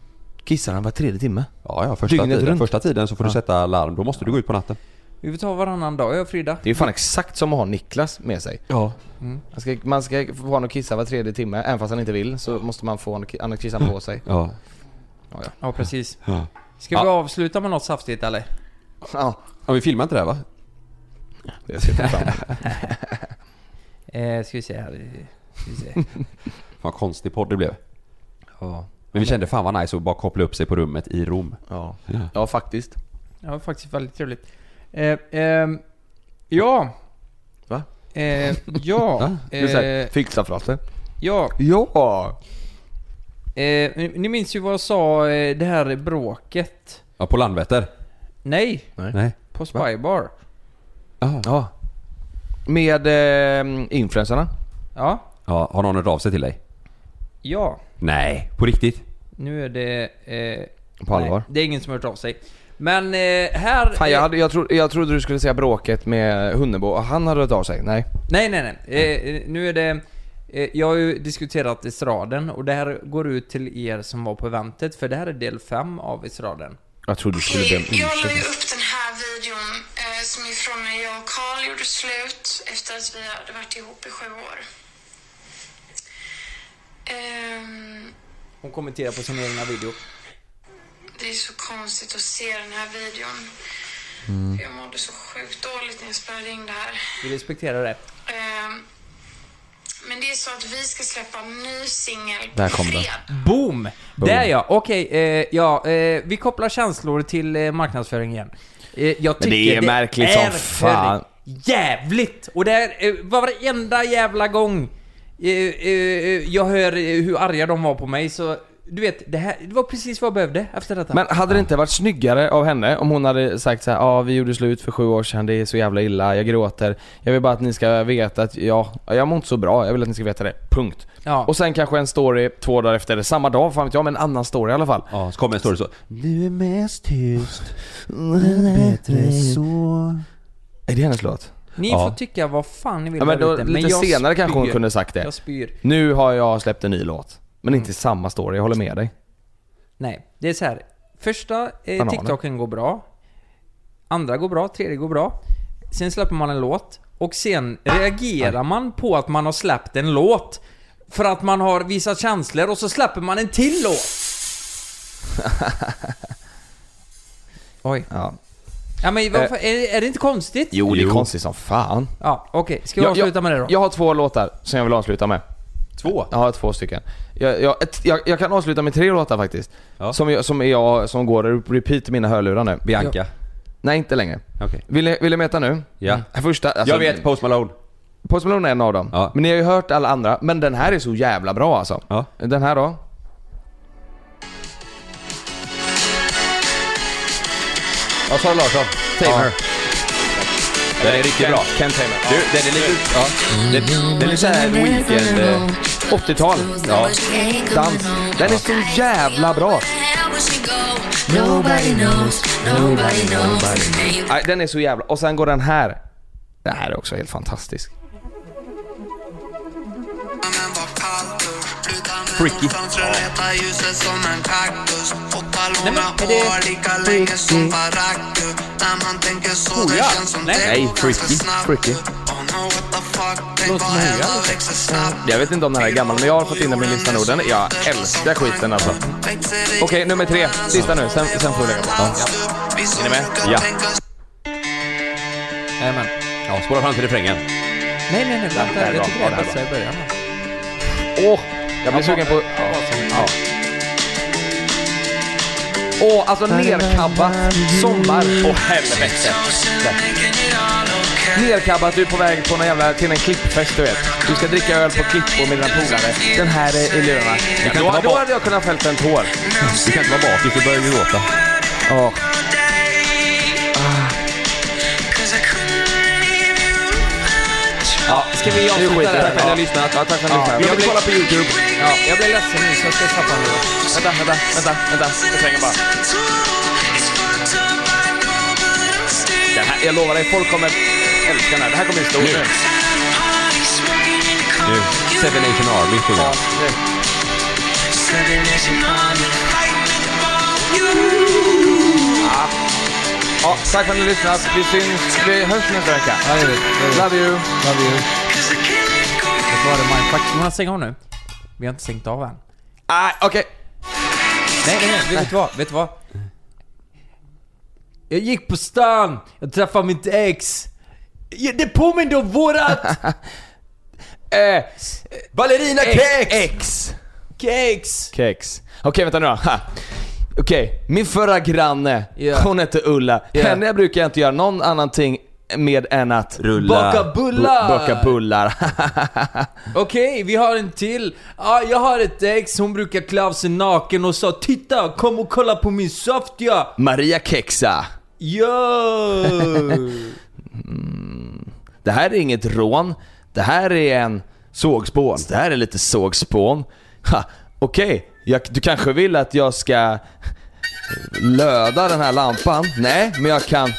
Kissar han var tredje timme?
Ja, ja, första
Dygnet
tiden,
runt.
första tiden så får du sätta larm. Då måste du gå ut på natten.
Vi får ta varannan dag, jag och Frida.
Det är ju fan exakt som att ha Niklas med sig.
Ja.
Man ska, man ska få honom att kissa var tredje timme, även fast han inte vill så måste man få honom att ki- annars kissar han på sig.
Ja.
Ja, precis.
Ja.
Ska vi avsluta med något saftigt eller?
Ja.
[laughs] Ja, vi filmar inte det här va?
Det ser jag fram emot.
Eh, ska vi se här. Ska vi se.
Fan konstig podd det blev.
Ja.
Men vi kände fan vad nice att bara koppla upp sig på rummet i Rom.
Ja. ja, faktiskt.
Ja, [laughs] det var faktiskt väldigt trevligt. Eh, ehm, ja.
Va?
Eh,
[laughs]
ja. eh,
Fixarfraser.
ja.
Ja!
Eh, ni- ni minns ju vad jag sa, eh, det här bråket.
Ja, på Landvetter?
Nej,
Nej.
på Spybar.
Ja. Med eh, influencerna.
Ja.
Ja, har någon hört av sig till dig?
Ja.
Nej. På riktigt?
Nu är det... Eh,
På allvar.
Nej, det är ingen som har hört av sig. Men eh, här...
Fan,
eh,
jag, hade, jag, tro, jag trodde du skulle säga bråket med Hunnebo och han hade hört av sig. Nej.
Nej, nej, nej. Eh, Eh, nu är det... Eh, jag har ju diskuterat estraden och det här går ut till er som var på eventet för det här är del 5 av estraden.
Jag trodde du skulle be om
Okej, jag la ju
ursäkt.
upp den här videon eh, som är från när jag och Carl gjorde slut efter att vi hade varit ihop i sju år. Ehm,
Hon kommenterar på sin egna video.
det är så konstigt att se den här videon.
Mm.
Jag mådde så sjukt dåligt när jag spelade in det här.
Vi respekterar det.
Ehm, men det är så att vi ska släppa en ny singel
Där
på
kom den.
fredag.
Boom! Där ja, okej. eh, ja, eh, vi kopplar känslor till eh, marknadsföring igen. Eh, jag tycker
det är märkligt som
är
fan.
för Jävligt! Och det är eh, varenda jävla gång eh, eh, jag hör eh, hur arga de var på mig så... Du vet, det, här, det var precis vad jag behövde efter detta.
Men hade det inte varit snyggare av henne om hon hade sagt så här, ja ah, vi gjorde slut för sju år sedan, det är så jävla illa, jag gråter. Jag vill bara att ni ska veta att ja, jag mår inte så bra, jag vill att ni ska veta det. Punkt.
Ja.
Och sen kanske en story två dagar efter, eller samma dag, fan vet jag, men en annan story i alla fall.
Ja, så kommer en story så. Du är mest tyst.
Är det hennes låt?
Ni
Ja.
får tycka vad fan ni vill
Ja, men
där
då,
ute,
lite
jag
senare kanske hon
spyr.
kunde sagt det.
Jag spyr. Mm.
Nu har jag släppt en ny låt. Men inte samma story, jag håller med dig.
Nej, det är så här. Första eh,
Bananer.
TikToken går bra. Andra går bra, tredje går bra. Sen släpper man en låt. Och sen reagerar man på att man har släppt en låt. För att man har visat känslor och så släpper man en till låt. Oj.
Ja.
Ja men varför, är, är det inte konstigt?
Jo, det är konstigt som fan.
Ja, okej. Ska vi avsluta med det då?
Jag har två låtar som jag vill avsluta med.
Två?
Jag har två stycken. Jag, jag, ett, jag, jag kan avsluta med tre låtar faktiskt.
Ja.
Som, jag, som, jag, som går repeat i mina hörlurar nu.
Bianca.
Nej, inte längre.
Okej.
Vill, ni- vill ni veta nu?
Ja.
Första, alltså,
Jag vet Post Malone.
Post Malone är en av dem.
Ja.
Men ni har ju hört alla andra. Men den här är så jävla bra alltså.
Ja.
Den här då?
Ja, Sara Larsson. Tamer. Den är riktigt bra.
Ken Taylor.
Du, den är lite... Ja. Den, den är lite såhär weekend... eh,
80-tal.
Ja.
Dans. Den är så jävla bra.
Nobody knows, nobody knows.
Nej, den är så jävla... Och sen går den här. Den här är också helt fantastisk.
Freaky.
Nej, men är det-
Oh, ja.
Nej.
Nej, freaky.
Freaky.
Låter
Jag vet inte om den här är gammal, men jag har fått in den på min lista nu. Den, jag älskar skiten alltså. Okej, nummer tre. Sista nu. Sen, sen får vi lägga på. Ja. Är ni med?
Ja.
Jajamän.
ja, spåra fram till refrängen.
Nej, nej, nej. Vänta.
bra,
Jag tycker det
den
är
är
bästa i början.
Åh! jag blir sugen på... Ja. Åh, alltså nerkabbat. Sommar. Åh helvete. Nerkabbat, du är på väg på någon jävla, till en klippfest du vet. Du ska dricka öl på klippor med dina polare. Den här är i lurarna.
inte
Då,
vara
då
bak-
hade jag kunnat fällt en tår.
Du kan inte vara bakis, du börjar ju gråta.
Åh.
Ja, ska vi
Nu skiter
avsluta
jag
det
i det.
här?
Tack för att ni har lyssnat. Ja, tack för att ni har lyssnat.
Jag vill kolla
på YouTube.
Ja, jag blir ledsen nu så jag ska släppa en låt.
Vänta, vänta, vänta, vänta. Jag slänger bara. Den här, jag lovar dig, folk kommer älska den här. Det här kommer bli stor nu.
Nu, Seven Nation Army sjunger jag.
Ja, tack för att ni har lyssnat. Vi syns, vi hörs nästa vecka.
Ja, det är det. Det är det.
Love you.
Love you. Det var det mindfuck. Jonas, stäng av nu. Vi har inte stängt av än.
Ah, Okej.
Nej, nej, nej. Vet du vad? Vet du vad? Jag gick på stan. Jag träffade mitt ex. Ja, Det påminner om vårat...
[laughs] Eh,
Ballerina
Kex!
Kex!
Ex.
Kex!
Kex. Okej, vänta nu då. Ha. Okej, min förra granne,
Ja.
hon hette Ulla.
Ja.
Henne brukar jag inte göra någon annan ting med än att
Rulla.
Baka bullar!
Bu- baka bullar. [laughs]
Okej, vi har en till. Ja, jag har ett ex. Hon brukar klä av sig naken och sa 'Titta, kom och kolla på min soft ja!'
Maria Kexa.
Yo!
[laughs] Det här är inget rån. Det här är en...
Sågspån.
Det här är lite sågspån. Ha, Okej, jag- du kanske vill att jag ska löda den här lampan? Nej, men jag kan